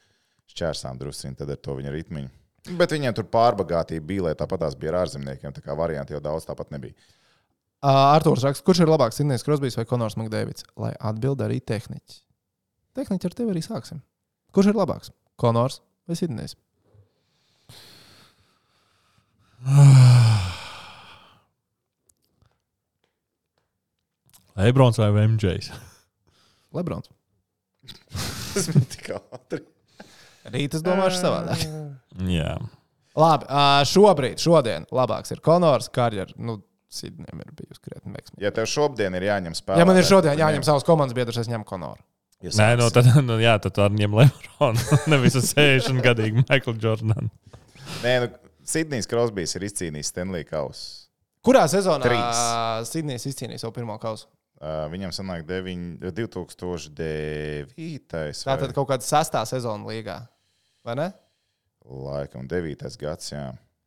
S3: Šķērsām drusciņi tad ar to viņa ritmiņu. Bet viņiem tur pārbagātība bija, lai tāpat tās bija ar ārzemniekiem. Tā kā varianti jau daudz tāpat nebija.
S1: Uh, Arthurs raksta, kurš ir labāks Sidnejs Krosbīs vai Konors Makdēvits? Lai atbild arī tehniķi. Tehniķi ar tevi arī sāksim. Kurš ir labāks? Konors vai Sidnejs?
S2: Lebrons vai MJs?
S1: Lebrons.
S3: Tas bija tik ātri.
S1: Rīt es domāšu savādāk.
S2: Jā.
S1: Labi, ā, šobrīd, šodien labāks ir Konors karjeras. Nu, Sidnēm ir bijusi krietni veiksmīga.
S3: Ja tev šodien ir jāņem spēlē,
S1: Ja man ir šodien jāņem savs komandas biedrs, es ņemu Konoru.
S3: Ja
S2: Nē,
S3: sāks.
S2: no tad, nu, jā, tad ar viņiem Lebrons. Nevis ar 60 gadīgu Michael Jordanu.
S3: Nē, nu, Sidnijas Krosbīs ir izcīnījis Stanley Kausu.
S1: Kurā sezonā
S3: Trīs.
S1: Sidnijas izcīnīja savu pirmo kausu?
S3: Uh, viņam sanāk deviņ- 2009.
S1: Tā
S3: vai-
S1: tad kaut kāda sastā sezona līgā. Vai ne?
S3: Laikam, 9. gads, jā.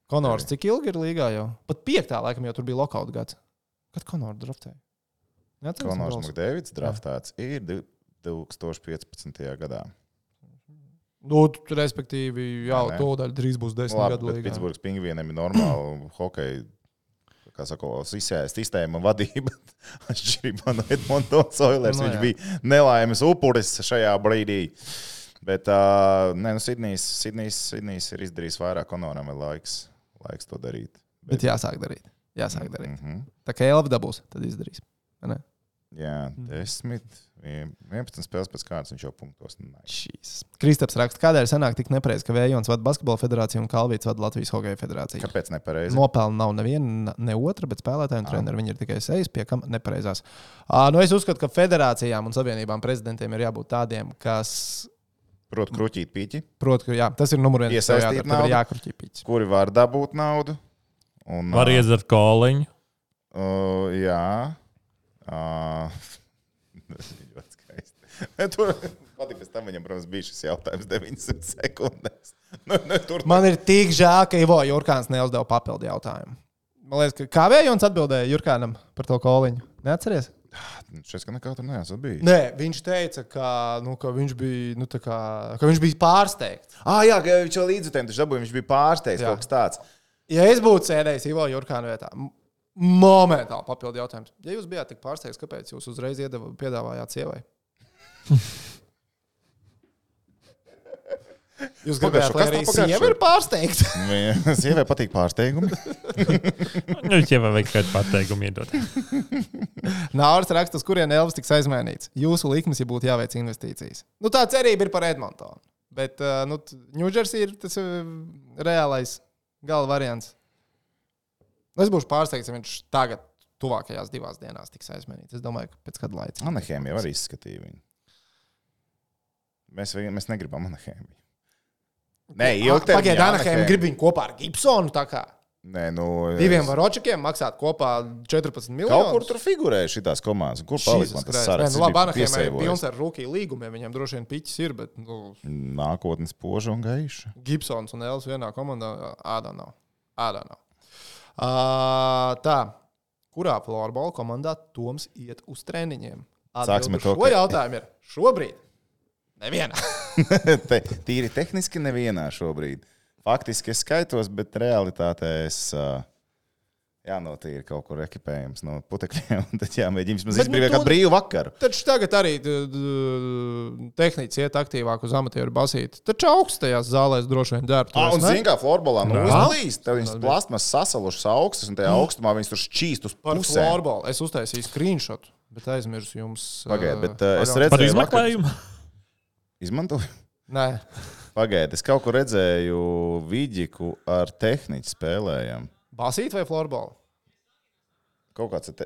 S1: Konors, cik ilgi ir līgā jau? Pat piektā, laikam, jau tur bija lokauta gads. Kad Konoru draftēja? Neatceros
S3: Konors
S1: balsu.
S3: Makdēvids draftēts ir div- 2015. gadā.
S1: Nu, tu- respektīvi, jau
S3: Nē, nē.
S1: to daļu drīz būs desmit
S3: Labi,
S1: gadu
S3: bet
S1: līgā.
S3: Pitsburgas pingvīniem ir normāla hokeja. Kā saka, visējais sistēma un vadība. Atšķirībā no Edmunds Oilers,
S1: Nu,
S3: no, viņš
S1: jā.
S3: bija nelaimes upuris šajā brīdī. Bet, uh, nē, nu, Sidnijas, Sidnijas, Sidnijas ir izdarījis vairāk, Konoram ir laiks, laiks to darīt.
S1: Bet jāsāk darīt. Jāsāk darīt.
S3: Mhm.
S1: Tā kā Elva dabūs, tad izdarīs. Vai ne?
S3: Jā,
S1: Mhm.
S3: 10, 11 spēles pēc kārtas viņš jau punktos. Nē.
S1: Šīs. Kristaps raksta, kādēļ sanāk tik nepareizi, ka Vējons vada Basketbalu federāciju un Kalvīts vada Latvijas hokeja federāciju?
S3: Kāpēc nepareizi?
S1: Nopelna nav neviena, ne otra, bet spēlētāji un treneri viņi ir tikai sejas, pie kam nepareizās. Uh, nu es uzskatu, ka federācijām un savienībām prezidentiem ir jābūt tādiem, kas
S3: Protams, kruķīt pīķi,
S1: prot, ka jā, tas ir numurs viens. kas tev
S3: Iesaistīt
S1: jādara. Tev ir
S3: naudu.
S1: jākruķi pīķi.
S3: kuri var dabūt naudu. Un,
S2: Var
S3: ā,
S2: iedzert koliņu.
S3: Uh, jā. Uh, tas ir ļoti skaisti. Tur pat pēc tam viņam, protams, bija šis jautājums 900 sekundēs. Nu, nu, tur
S1: Man ir tik žēl, ka Ivo Jurkāns neuzdeva papildu jautājumu. Man liekas, ka kā Vējons atbildēja Jurkānam par to koliņu? Neatceries?
S3: Nu, šis gan kā tur neesat bijis.
S1: Nē, viņš teica, ka, nu, ka, viņš, bija, nu, tā kā, ka viņš bija pārsteigts.
S3: Ah, jā, ka viņš jau līdzekļiem tur dabūja. Viņš bija pārsteigts
S1: Jā.
S3: kaut kas tāds.
S1: Ja es būtu sēdējis Ivo Jurkāna vietā, m- momentāli papildu jautājums. Ja jūs bijāt tik pārsteigts, kāpēc jūs uzreiz iedeva, piedāvājāt sievai? Jūs gribējāt,
S3: Pagaršo,
S1: lai
S3: kas
S1: arī
S3: tā pagaršo?
S1: sieva ir pārsteigta?
S3: Viņa- Sievai patīk pārsteigumi.
S2: Nu, Viņam jau vajag kādu pateikumu iedot.
S1: Nāvis raksta, uz kurien Elvis tiks aizmainīts. Jūsu likmes, ja būtu jāveic investīcijas. Nu, tā cerība ir par Edmontonu. Bet uh, nu, t- Ņūdžersī ir tas uh, Nu, reālais gala variants. Es būšu pārsteigts, ja viņš tagad tuvākajās divās dienās tiks aizmainīts. Es domāju, ka pēc kāda laika.
S3: Anahēmija jau arī izskatīja viņu. Mēs, vi- mēs negribam Anahēmiju. Nē, ilgtermiņā.
S1: Pagaidā, Anaheim
S3: Anaheim.
S1: grib viņu kopā ar Gibsonu. tā kā.
S3: Nē, nu,
S1: Diviem
S3: es-
S1: varočakiem maksāt kopā 14
S3: Kaut
S1: miljonus.
S3: kur tur figurēja šīs komandas. Kur
S1: Jēzus
S3: palika man tas
S1: Kristus.
S3: saraksts?
S1: Nē, nu, labi,
S3: bija
S1: Anaheimai ir
S3: piesaivojis.
S1: pilns ar rūkīju līgumiem. Viņam droši vien piķis ir, bet nu,
S3: Nākotnes poža un gaiša.
S1: Gibsons un Elvis vienā komandā ādā nav. Ādā nav. Uh, tā, kurā florbola komandā Toms iet uz treniņiem?
S3: Sāksim ar
S1: Atbildu
S3: to,
S1: šo
S3: ka-
S1: jautājumu ir šobrīd. Neviena.
S3: Te, tīri tehniski nevienā šobrīd. Faktiski es skaitos, bet realitātē es. Uh, Jā, notīri kaut kur ekipējams no putekļiem. un Tad jāmēģina vismaz
S1: Bet, nu,
S3: izbrīvot
S1: to-
S3: kādu brīvu vakaru.
S1: Taču tagad arī tehnicis iet aktīvāk uz amatieru basīti. Taču augstajās zālēs droši vien darbs.
S3: Ah, un zini, kā florbolā nu,
S2: Nā.
S3: uzlīst. Tad viņas plasmas sasalušas augstas, un tajā augstumā viņas tur šķīst uz
S1: par
S3: pusēm.
S1: floorbola. Es
S3: er
S1: uztaisīju screenshot, bet aizmirsu jums. ā,
S3: Pagaidiet, bet uh,
S1: paļaut.
S3: es
S2: Par
S3: redzēju, vakar-
S2: izmeklējumu.
S3: Izmantoju.
S1: Nē,
S3: Pagaidiet, es kaut kur redzēju vidiku ar tehniku spēlējumu.
S1: basīt vai floorbola?
S3: Kaut kāds ir te...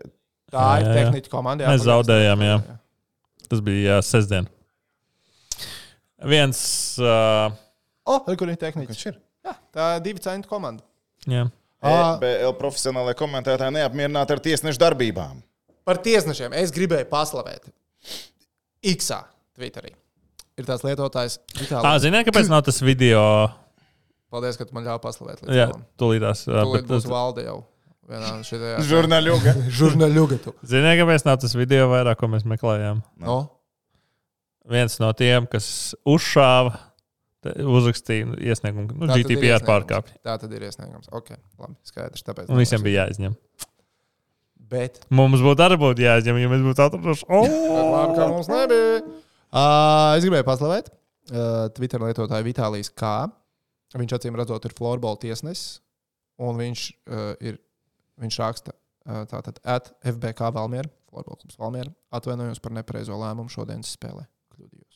S1: Tā
S2: Jā,
S1: ir
S2: jā, jā.
S1: tehnika komanda.
S2: Mēs zaudējām, jā. Tas bija jā, sestdien. Viens. Uh,
S1: O, oh, kur ir tehnika?
S3: Viņš ir.
S1: Jā, tā ir divu centu komanda.
S2: jā.
S1: Ā.
S3: EBL E profesionālajie komentētāji neapmierināti ar tiesnešu darbībām.
S1: Par tiesnešiem es gribēju paslavēt. Iksā, Twitterī. Ir tās lietotājs.
S2: Ah,
S1: Itālijā.
S2: ziniet, kāpēc nav tas video?
S1: Paldies, ka tu man ļāvi paslavēt.
S2: Jā,
S1: Līdz tam.
S2: tūlītās. jā,
S1: Tūlīt
S2: bet
S1: būs
S2: tas-
S1: valde jau. Vienā šitajā
S3: Žurnāļuga.
S1: žurnāļugatu.
S2: Ziniet, kāpēc nav tas video vairāk, ko mēs meklējām?
S1: No?
S2: Viens no tiem, kas uzšāva, te- uzrakstīja iesniegumu, ka, nu,
S1: Tā tad ir
S2: GDPR
S1: iesniegums.
S2: pārkāpja.
S1: Tā tad ir iesniegums. Ok, labi, skaidrs. Tāpēc.
S2: Un visiem bija jāizņem.
S1: Bet.
S2: Mums būtu arī būtu jāizņem, ja mēs būtu atraduši.
S1: Bet Labi, ka
S2: Oh!
S1: mums nebija. Uh, es gribēju paslavēt uh, Twitter lietotāju Vitālijas K. Viņš acīm redzot, ir floorbola tiesnesis. Un viņš, uh, ir, viņš raksta, uh, tātad, at FBK Valmiera, floorbola klubs Valmiera, atvainojos par nepareizo lēmumu šodienas spēlē. Kļūdījos.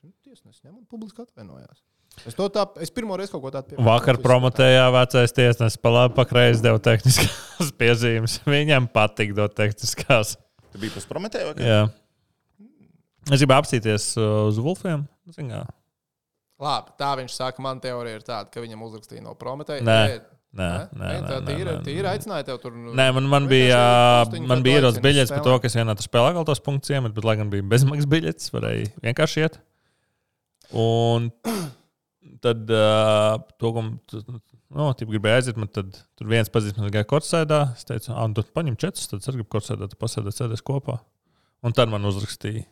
S1: Šim Tiesnesis ņem un publiski atvainojās. Es to tā, es pirmo reizi kaut ko tādu pieminēju.
S2: Vakar
S1: Es-
S2: promotējā vecais tiesnesis pa labi pakreiz deva tehniskās piezīmes. Viņam patīk dot tehniskās.
S3: Tu biji pus prometēju vakar?
S2: Jā. Es gribu apsīties uh, uz Wolfiem. Zin kā?
S1: Labi, tā viņš saka, man teorija ir tāda, ka viņam uzrakstīja no prometēja.
S2: Nē.
S1: Ei,
S2: Nē, nē,
S1: Nē,
S2: nē,
S1: tā
S2: nē,
S1: tīra,
S2: nē,
S1: tīra
S2: nē.
S1: aicināja tev tur.
S2: Nē, man, man
S1: Vienkārši
S2: bija,
S1: postiņu,
S2: man
S1: tad
S2: bija
S1: tu
S2: ierodas
S1: aicini
S2: biļets par
S1: spēlēt.
S2: to, kas vienā tur spēlē vēl tos punktus iemet, bet, lai gan bija bezmaksas biļets, varēja vienkārši iet. Un tad, uh, to, ko man- tu- nu, tipu, gribēju aiziet, man tad tur viens pazīstams gāja korsēdā. Es teicu, ah, tu paņem četrus, tad es gribu korsēdā, tad pasēdēt, sēdēs kopā. Un tad man uzrakstīja.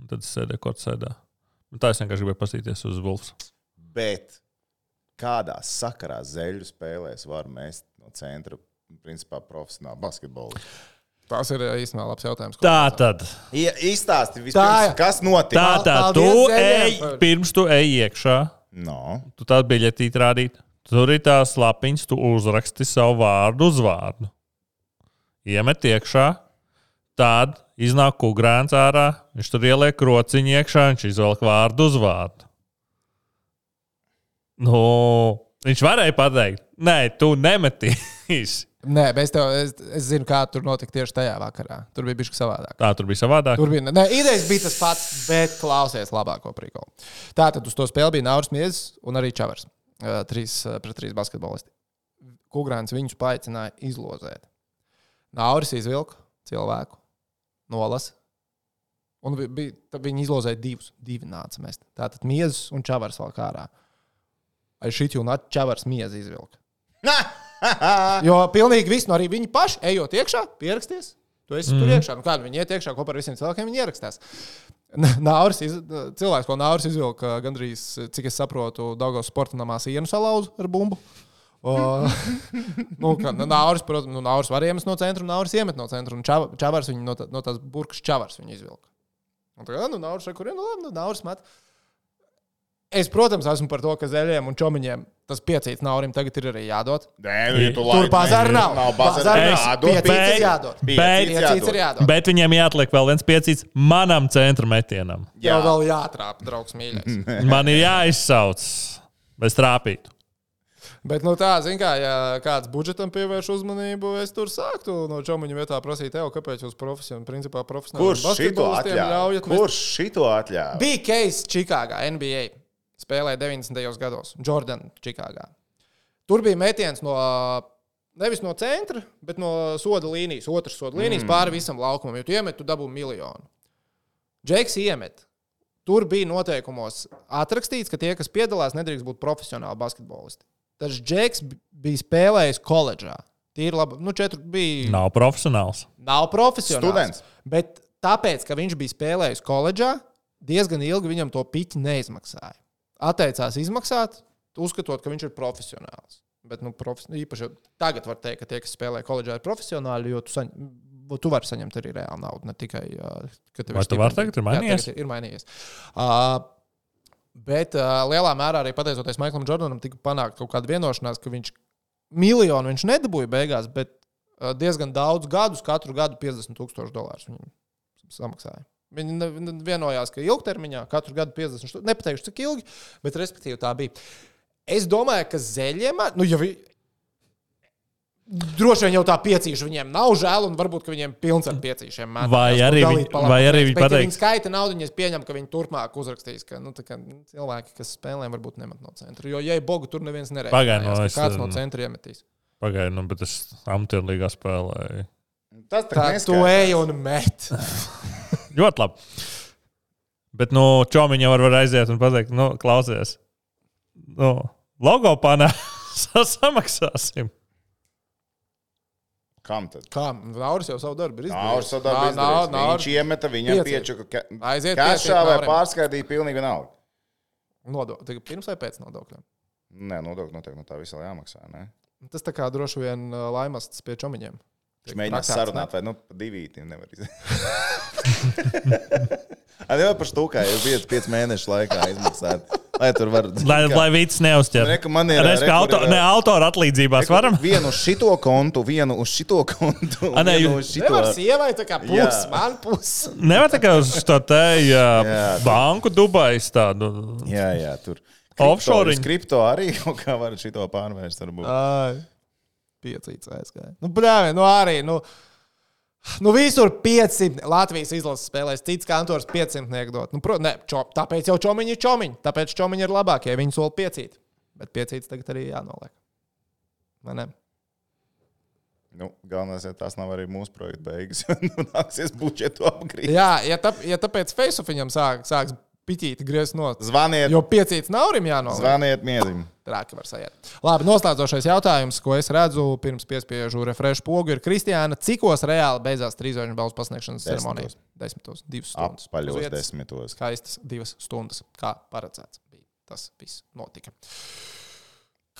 S2: Un tad es sēdēju korsēdā. Un tā es vienkārši gribēju paskatīties uz Vulfs.
S3: Bet kādā sakarā zeļu spēlēs var mest no centra, principā, profesionāli basketbolu?
S1: Tas ir uh, īstenībā labs jautājums. ko
S2: Tā
S1: mēs-
S2: tad.
S3: Ja, Izstāsti
S1: Tā.
S3: vispirms, kas notika.
S2: Tā tad. Tu
S1: Paldies
S2: ej,
S1: Zeļiem par-
S2: pirms tu ej iekšā.
S3: No.
S2: tu tā biļetīt rādīt. Tur ir tās lapiņas, tu uzraksti savu vārdu uz vārdu. Iemet iekšā, tad iznāk kukurūzs ārā, viņš tur ieliek rociņu iekšā, viņš izvelk vārdu uz vārdu. Nu, viņš varēja pateikt, nē, tu nemetīsi.
S1: Nē, bet es, tev, es, es zinu, kā tur notika tieši tajā vakarā. Tur bija bijis savādāk.
S2: Tā tur bija savādāk.
S1: Tur bija. Nē, idejas bija tas pats, bet klausies labāko aprīkojumu. Tā tad uz to spēli bija Nauris Miezis un arī Čavars. Uh, trīs uh, pret trīs basketbolisti. Kukrāns viņus paaicināja izlozēt. Nauris izvilka cilvēku, nolas. Un vi- bija, tad viņi izlozēja divus. Divi nāca mest. Tātad Miezis un Čavars vēl kārā. Aiz šī jau nāca Čavars Miezis izvilka. Jo pilnīgi viss, no arī viņi paši, ejot iekšā, pieraksties. Tu esi mm. tur iekšā. Nu, kādu viņi iet iekšā kopā ar visiem cilvēkiem, viņi ierakstās. Nauris, iz, cilvēks, ko Nauris izvilka eh, gandrīz, cik es saprotu, Dāngos sporta namā sienu salauzu ar bumbu. O, nu, kā, nu, nauris, protams, nu, nauris var iemest no centra, un nauris iemet no centra. un čava- Čavars viņu no, tā, no tās burkas čavars viņa izvilka. Un tagad, nu, nauris, kur ir, nu, labi, nu, nauris met. Es, protams, esmu par to, ka zeļiem un čomiņiem tas piecīts naurim tagad ir arī jādod.
S3: Nē, nu, ja tu
S1: Tur
S3: laid-
S1: bazāra nav.
S3: Nav
S1: Bazāra
S3: bazāra.
S1: nav.
S3: Jādod
S1: Piecīts
S3: piecīts.
S1: ir jādod.
S3: Piecīts
S2: Bet-
S1: Piecīts ir jādod.
S2: Bet viņiem jāatliek vēl viens piecīts manam centra metienam.
S1: Jā,
S3: Jā.
S2: Mm-hmm.
S1: vēl jātrāpa, draugs mīļākais.
S2: Man ir jāizsauc, lai strāpītu.
S1: Bet, nu, tā, zināmā mērā, ja kāds budžetam pievērš uzmanību, es tur sāktu no čaumiņa vietā prasīt, tev, kāpēc jūs profesionāli, principā, profesionāli
S3: Kurš šito atļāva?
S1: Kurš?
S3: Kurš šito atļāva?
S1: Bija case Čikāgā, NBA. Spēlēja 90. gados, Jordan Čikāgā. Tur bija metiens no. Nevis no centra, bet no soda līnijas, otras soda līnijas mm. pāri visam laukumam. Jo tu iemet, tu dabū miljonu. Džeks iemet. Tur bija noteikumos atrakstīts, ka tie, kas piedalās, nedrīkst būt profesionāli basketbolisti. Tas Džeks bi- bija spēlējis koledžā. Tīri labi. Nu, četri bija.
S2: Nav profesionāls.
S1: Nav profesionāls.
S3: Students.
S1: Bet tāpēc, ka viņš bija spēlējis koledžā, diezgan ilgi viņam to piķi neizmaksāja. Atteicās izmaksāt, uzskatot, ka viņš ir profesionāls. Bet, nu, prof... īpaši jau tagad var teikt, ka tie, kas spēlē koledžā, ir profesionāli, jo tu, saņ... nu, tu vari saņemt arī reāli naudu, ne tikai, ā, ka tev
S2: Vai tu vari
S1: stipendija.
S2: tagad? Ir
S1: Jā,
S2: mainījies?
S1: tagad ir- Ir mainījies. Uh, Bet uh, lielā mērā arī pateicoties Maiklam Jordanam, tika panākta kaut kāda vienošanās, ka viņš miljonu viņš nedabūja beigās, bet uh, diezgan daudz gadus, katru gadu 50 tūkstoši dolāru viņam samaksāja. Viņi ne- ne- vienojās, ka ilgtermiņā katru gadu 50 tūkstoši, nepateikšu cik ilgi, bet respektīvi tā bija. Es domāju, ka zeļiem, nu, ja vi... droši vien jau tā piecīša viņiem nav žēl, un varbūt ka viņiem pilns ar piecīšiem. mētājās,
S2: Vai
S1: kur
S2: arī
S1: dalīt
S2: viņi-
S1: pa labi.
S2: vai arī viņi
S1: Bet, ja
S2: pateiks-
S1: viņi skaita naudu, un es pieņemu, ka viņi turpmāk uzrakstīs, ka nu, tā kā, nu, cilvēki, kas spēlē, varbūt nemet no centra. Jo, ja ir bogu, tur neviens neredz.
S2: Pagaid, nu, es-
S1: kāds no centra iemetīs.
S2: Pagaidiet, nu, bet es amatierlīgā spēlēju.
S3: Tas tā
S1: Tā,
S3: kā
S1: tu ej un met.
S2: Ļoti labi. Bet, nu, čomiņš jau var, var aiziet un pateikt, nu, klausies, nu, logo panā samaksāsim.
S3: Kam tad?
S1: Kā? Nauris jau savu darbu ir
S3: Nav
S1: izdarījis.
S3: sadarbības.
S1: Nā, nā, nā.
S3: Viņš iemeta viņam
S1: Pieci.
S3: piečuku.
S1: Aiziet
S3: Kašā
S1: pieci,
S3: vai
S1: Naurim.
S3: pārskaidīja pilnīgi vienalga.
S1: Nodo- tagad Pirms vai pēc nodokļiem?
S3: Nē, nodokļi noteikti no tā visā jāmaksā. Ne?
S1: Tas tā kā droši vien uh, laimasts pie čomiņiem.
S3: Viņš
S1: Tiek
S3: mēģināja
S1: traktēts,
S3: sarunāt, vai nu pa divītiem nevar izdarīt. Arī jau par stūkā, jau 5 mēnešu laikā izmaksāt. Lai tur var
S2: Lai, lai vīcis neuzķer.
S3: Re, ka man ir,
S2: Reiz,
S3: re,
S2: ka
S3: kur
S2: auto,
S3: ir,
S2: ne, autora atlīdzībās
S3: Kur
S2: varam.
S3: Vienu uz šito kontu, vienu uz šito kontu.
S2: A, nē,
S3: vienu
S2: jūs-
S3: uz šito.
S1: Nevar sievai tā kā puses,
S3: Jā.
S1: man puses.
S2: Nevar tikai uz to te jā,
S3: Jā.
S2: banku nu. Dubajas tādu.
S3: Jā, jā, tur.
S2: Offshore-iņu.
S3: Kripto arī kaut kā var šito pārvērst. varbūt.
S2: Ah.
S1: Piecīts aizgāja. Nu, brāli, nu arī. Nu, nu visur 500 Latvijas izlases spēlēs, cits kantors 500 niekdot. Nu, pro, ne, čo, tāpēc jau čomiņi ir čomiņi. Tāpēc čomiņi ir labākie. Viņi soli piecīt. Bet piecīts tagad arī jānoliek. Vai ne?
S3: Nu, galvenais, ja tas nav arī mūsu projekta beigas, nu, nāksies budžetu apgriezt.
S1: Jā, ja, tā, ja tāpēc Facebookam sāk, sāks pitīt griezt no.
S3: Zvaniet,
S1: Jo piecīts nav arī jānoliek.
S3: zvaniet miedim.
S1: Trāki var sajiet. Labi, noslēdzošais jautājums, ko es redzu pirms piespiežu refresh pogu, ir Kristiāna. Cikos reāli beidzās trīsvaigžņu balvu pasniegšanas
S3: Desmitos.
S1: ceremonija? Desmitos, divas stundas. Uz
S3: Apaļos
S1: vietas.
S3: desmitos.
S1: Skaistas divas stundas, kā paredzēts. Bija. Tas viss notika.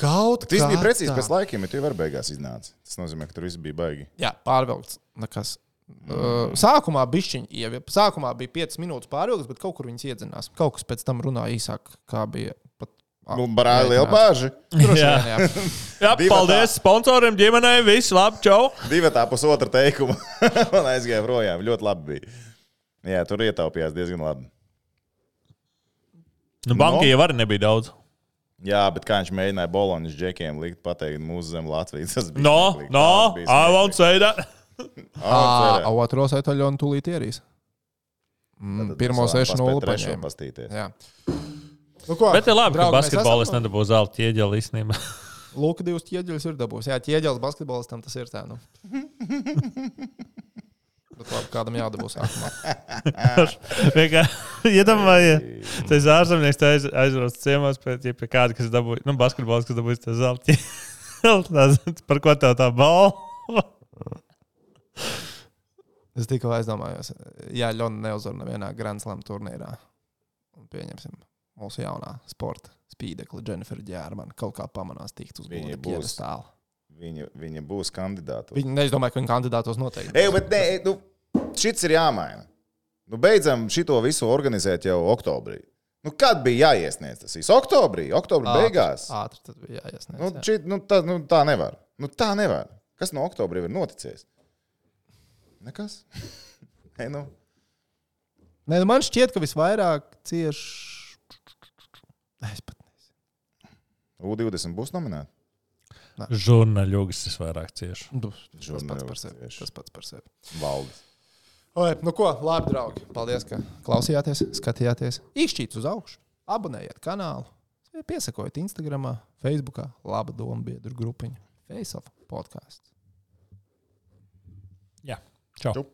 S1: Kaut
S3: Tas
S1: kā
S3: bija precīzi
S1: tā.
S3: pēc laikiem, ja tu jau var beigās iznāca. Tas nozīmē, ka tur viss bija baigi.
S1: Jā, pārvilkts. Nekas.
S3: Mm.
S1: Uh, Sākumā, bišķiņ, ievi- sākumā bija 5 minūtes pārvilkts, bet kaut kur viņas iedzinās. Kaut kas pēc tam runāja īsāk, kā bija. Pat, Ah,
S3: Nu, Brāli, liela bāža.
S1: Droši
S2: Jā.
S1: vien, jā.
S2: Jā,
S3: Divatā.
S2: paldies sponsoriem, ģimenei, viss labi, čau!
S3: Divi tā pusotra teikuma. Man aizgāja projām. Ļoti labi bija. Jā, tur ietaupījās diezgan labi.
S2: Nu, banka
S3: Nu.
S2: jau arī nebija daudz.
S3: Jā, bet kā viņš mēģināja Boloņas džekiem likt, pateikt, mūsu zem Latvijas. Tas bija
S2: No,
S3: smieklīgi.
S2: no,
S3: Tas bija
S2: I won't
S3: smieklīgi.
S2: say that.
S1: Ā,
S3: Au, cerē.
S1: Otros etaļonu tūlīt ierīs. Mm,
S3: Tad
S1: Pirmā
S3: mēs varam
S1: 6-0
S3: paspēt trešo
S1: paņēma.
S3: pastīties.
S1: Jā. Nu, ko,
S2: Bet ir labi, ka
S1: draugi, mēs
S2: basketbolis
S1: esam-
S2: nedabū zelta ieģeli īstenībā.
S1: Lūk, divas ķieģeļas ir dabūs. Jā, ķieģeļas basketbolistam tas ir tā. Nu. Bet labi, kādam jādabūs sākumā.
S2: Vienkārši iedomājieties, tas ārzemnieks te aiz, aizbrauc ciemos pēc ja pie kāda, kas dabūja, nu, basketbols, kas dabūja to zelta. ķēdeli. Par ko tev tā balva?
S1: Es tikko aizdomājos, ja Ļona neuzvar nevienā Grand Slam turnīrā. Un pieņemsim mūsu jaunā sporta spīdekli, Dženifera Ģērmana. Kaut kā pamanās tikt uz
S3: Viņa
S1: goda
S3: būs.
S1: piedestāla.
S3: Viņa, viņa būs kandidāta.
S1: Viņa neizdomāja, ka viņa kandidātos noteikti.
S3: Ej, bet nē, nu, šis ir jāmaina. Nu, beidzam šo visu organizēt jau oktobrī. Nu, kad bija jāiesniedz tas viss? Oktobrī, oktobra
S1: Ātri-
S3: beigās.
S1: Ātri tad bija jāiesniedz.
S3: Nu,
S1: jā.
S3: šit, nu, tā, nu, tā nevar. Nu, tā nevar. Kas no oktobra jau ir noticis? Nekas. Ei, nu.
S1: Nē, nu man šķiet, ka visvairāk cieš. Es pat nezinu.
S3: U20 būs nominēta.
S2: Žurnāļogs ir vairāk cieši.
S1: Nu, Tas pats
S3: Žurnālisti
S1: par sevi.
S3: tieši.
S1: Tas pats par sevi.
S3: Valdes.
S1: Oi, nu ko, labi, draugi. Paldies, ka klausījāties, skatījāties. Īšķīts uz augšu, abonējiet kanālu, piesakojiet Instagram, Facebook, laba doma biedru grupiņa, Facebook podkāstu.
S2: Jā, čau.
S3: Čau.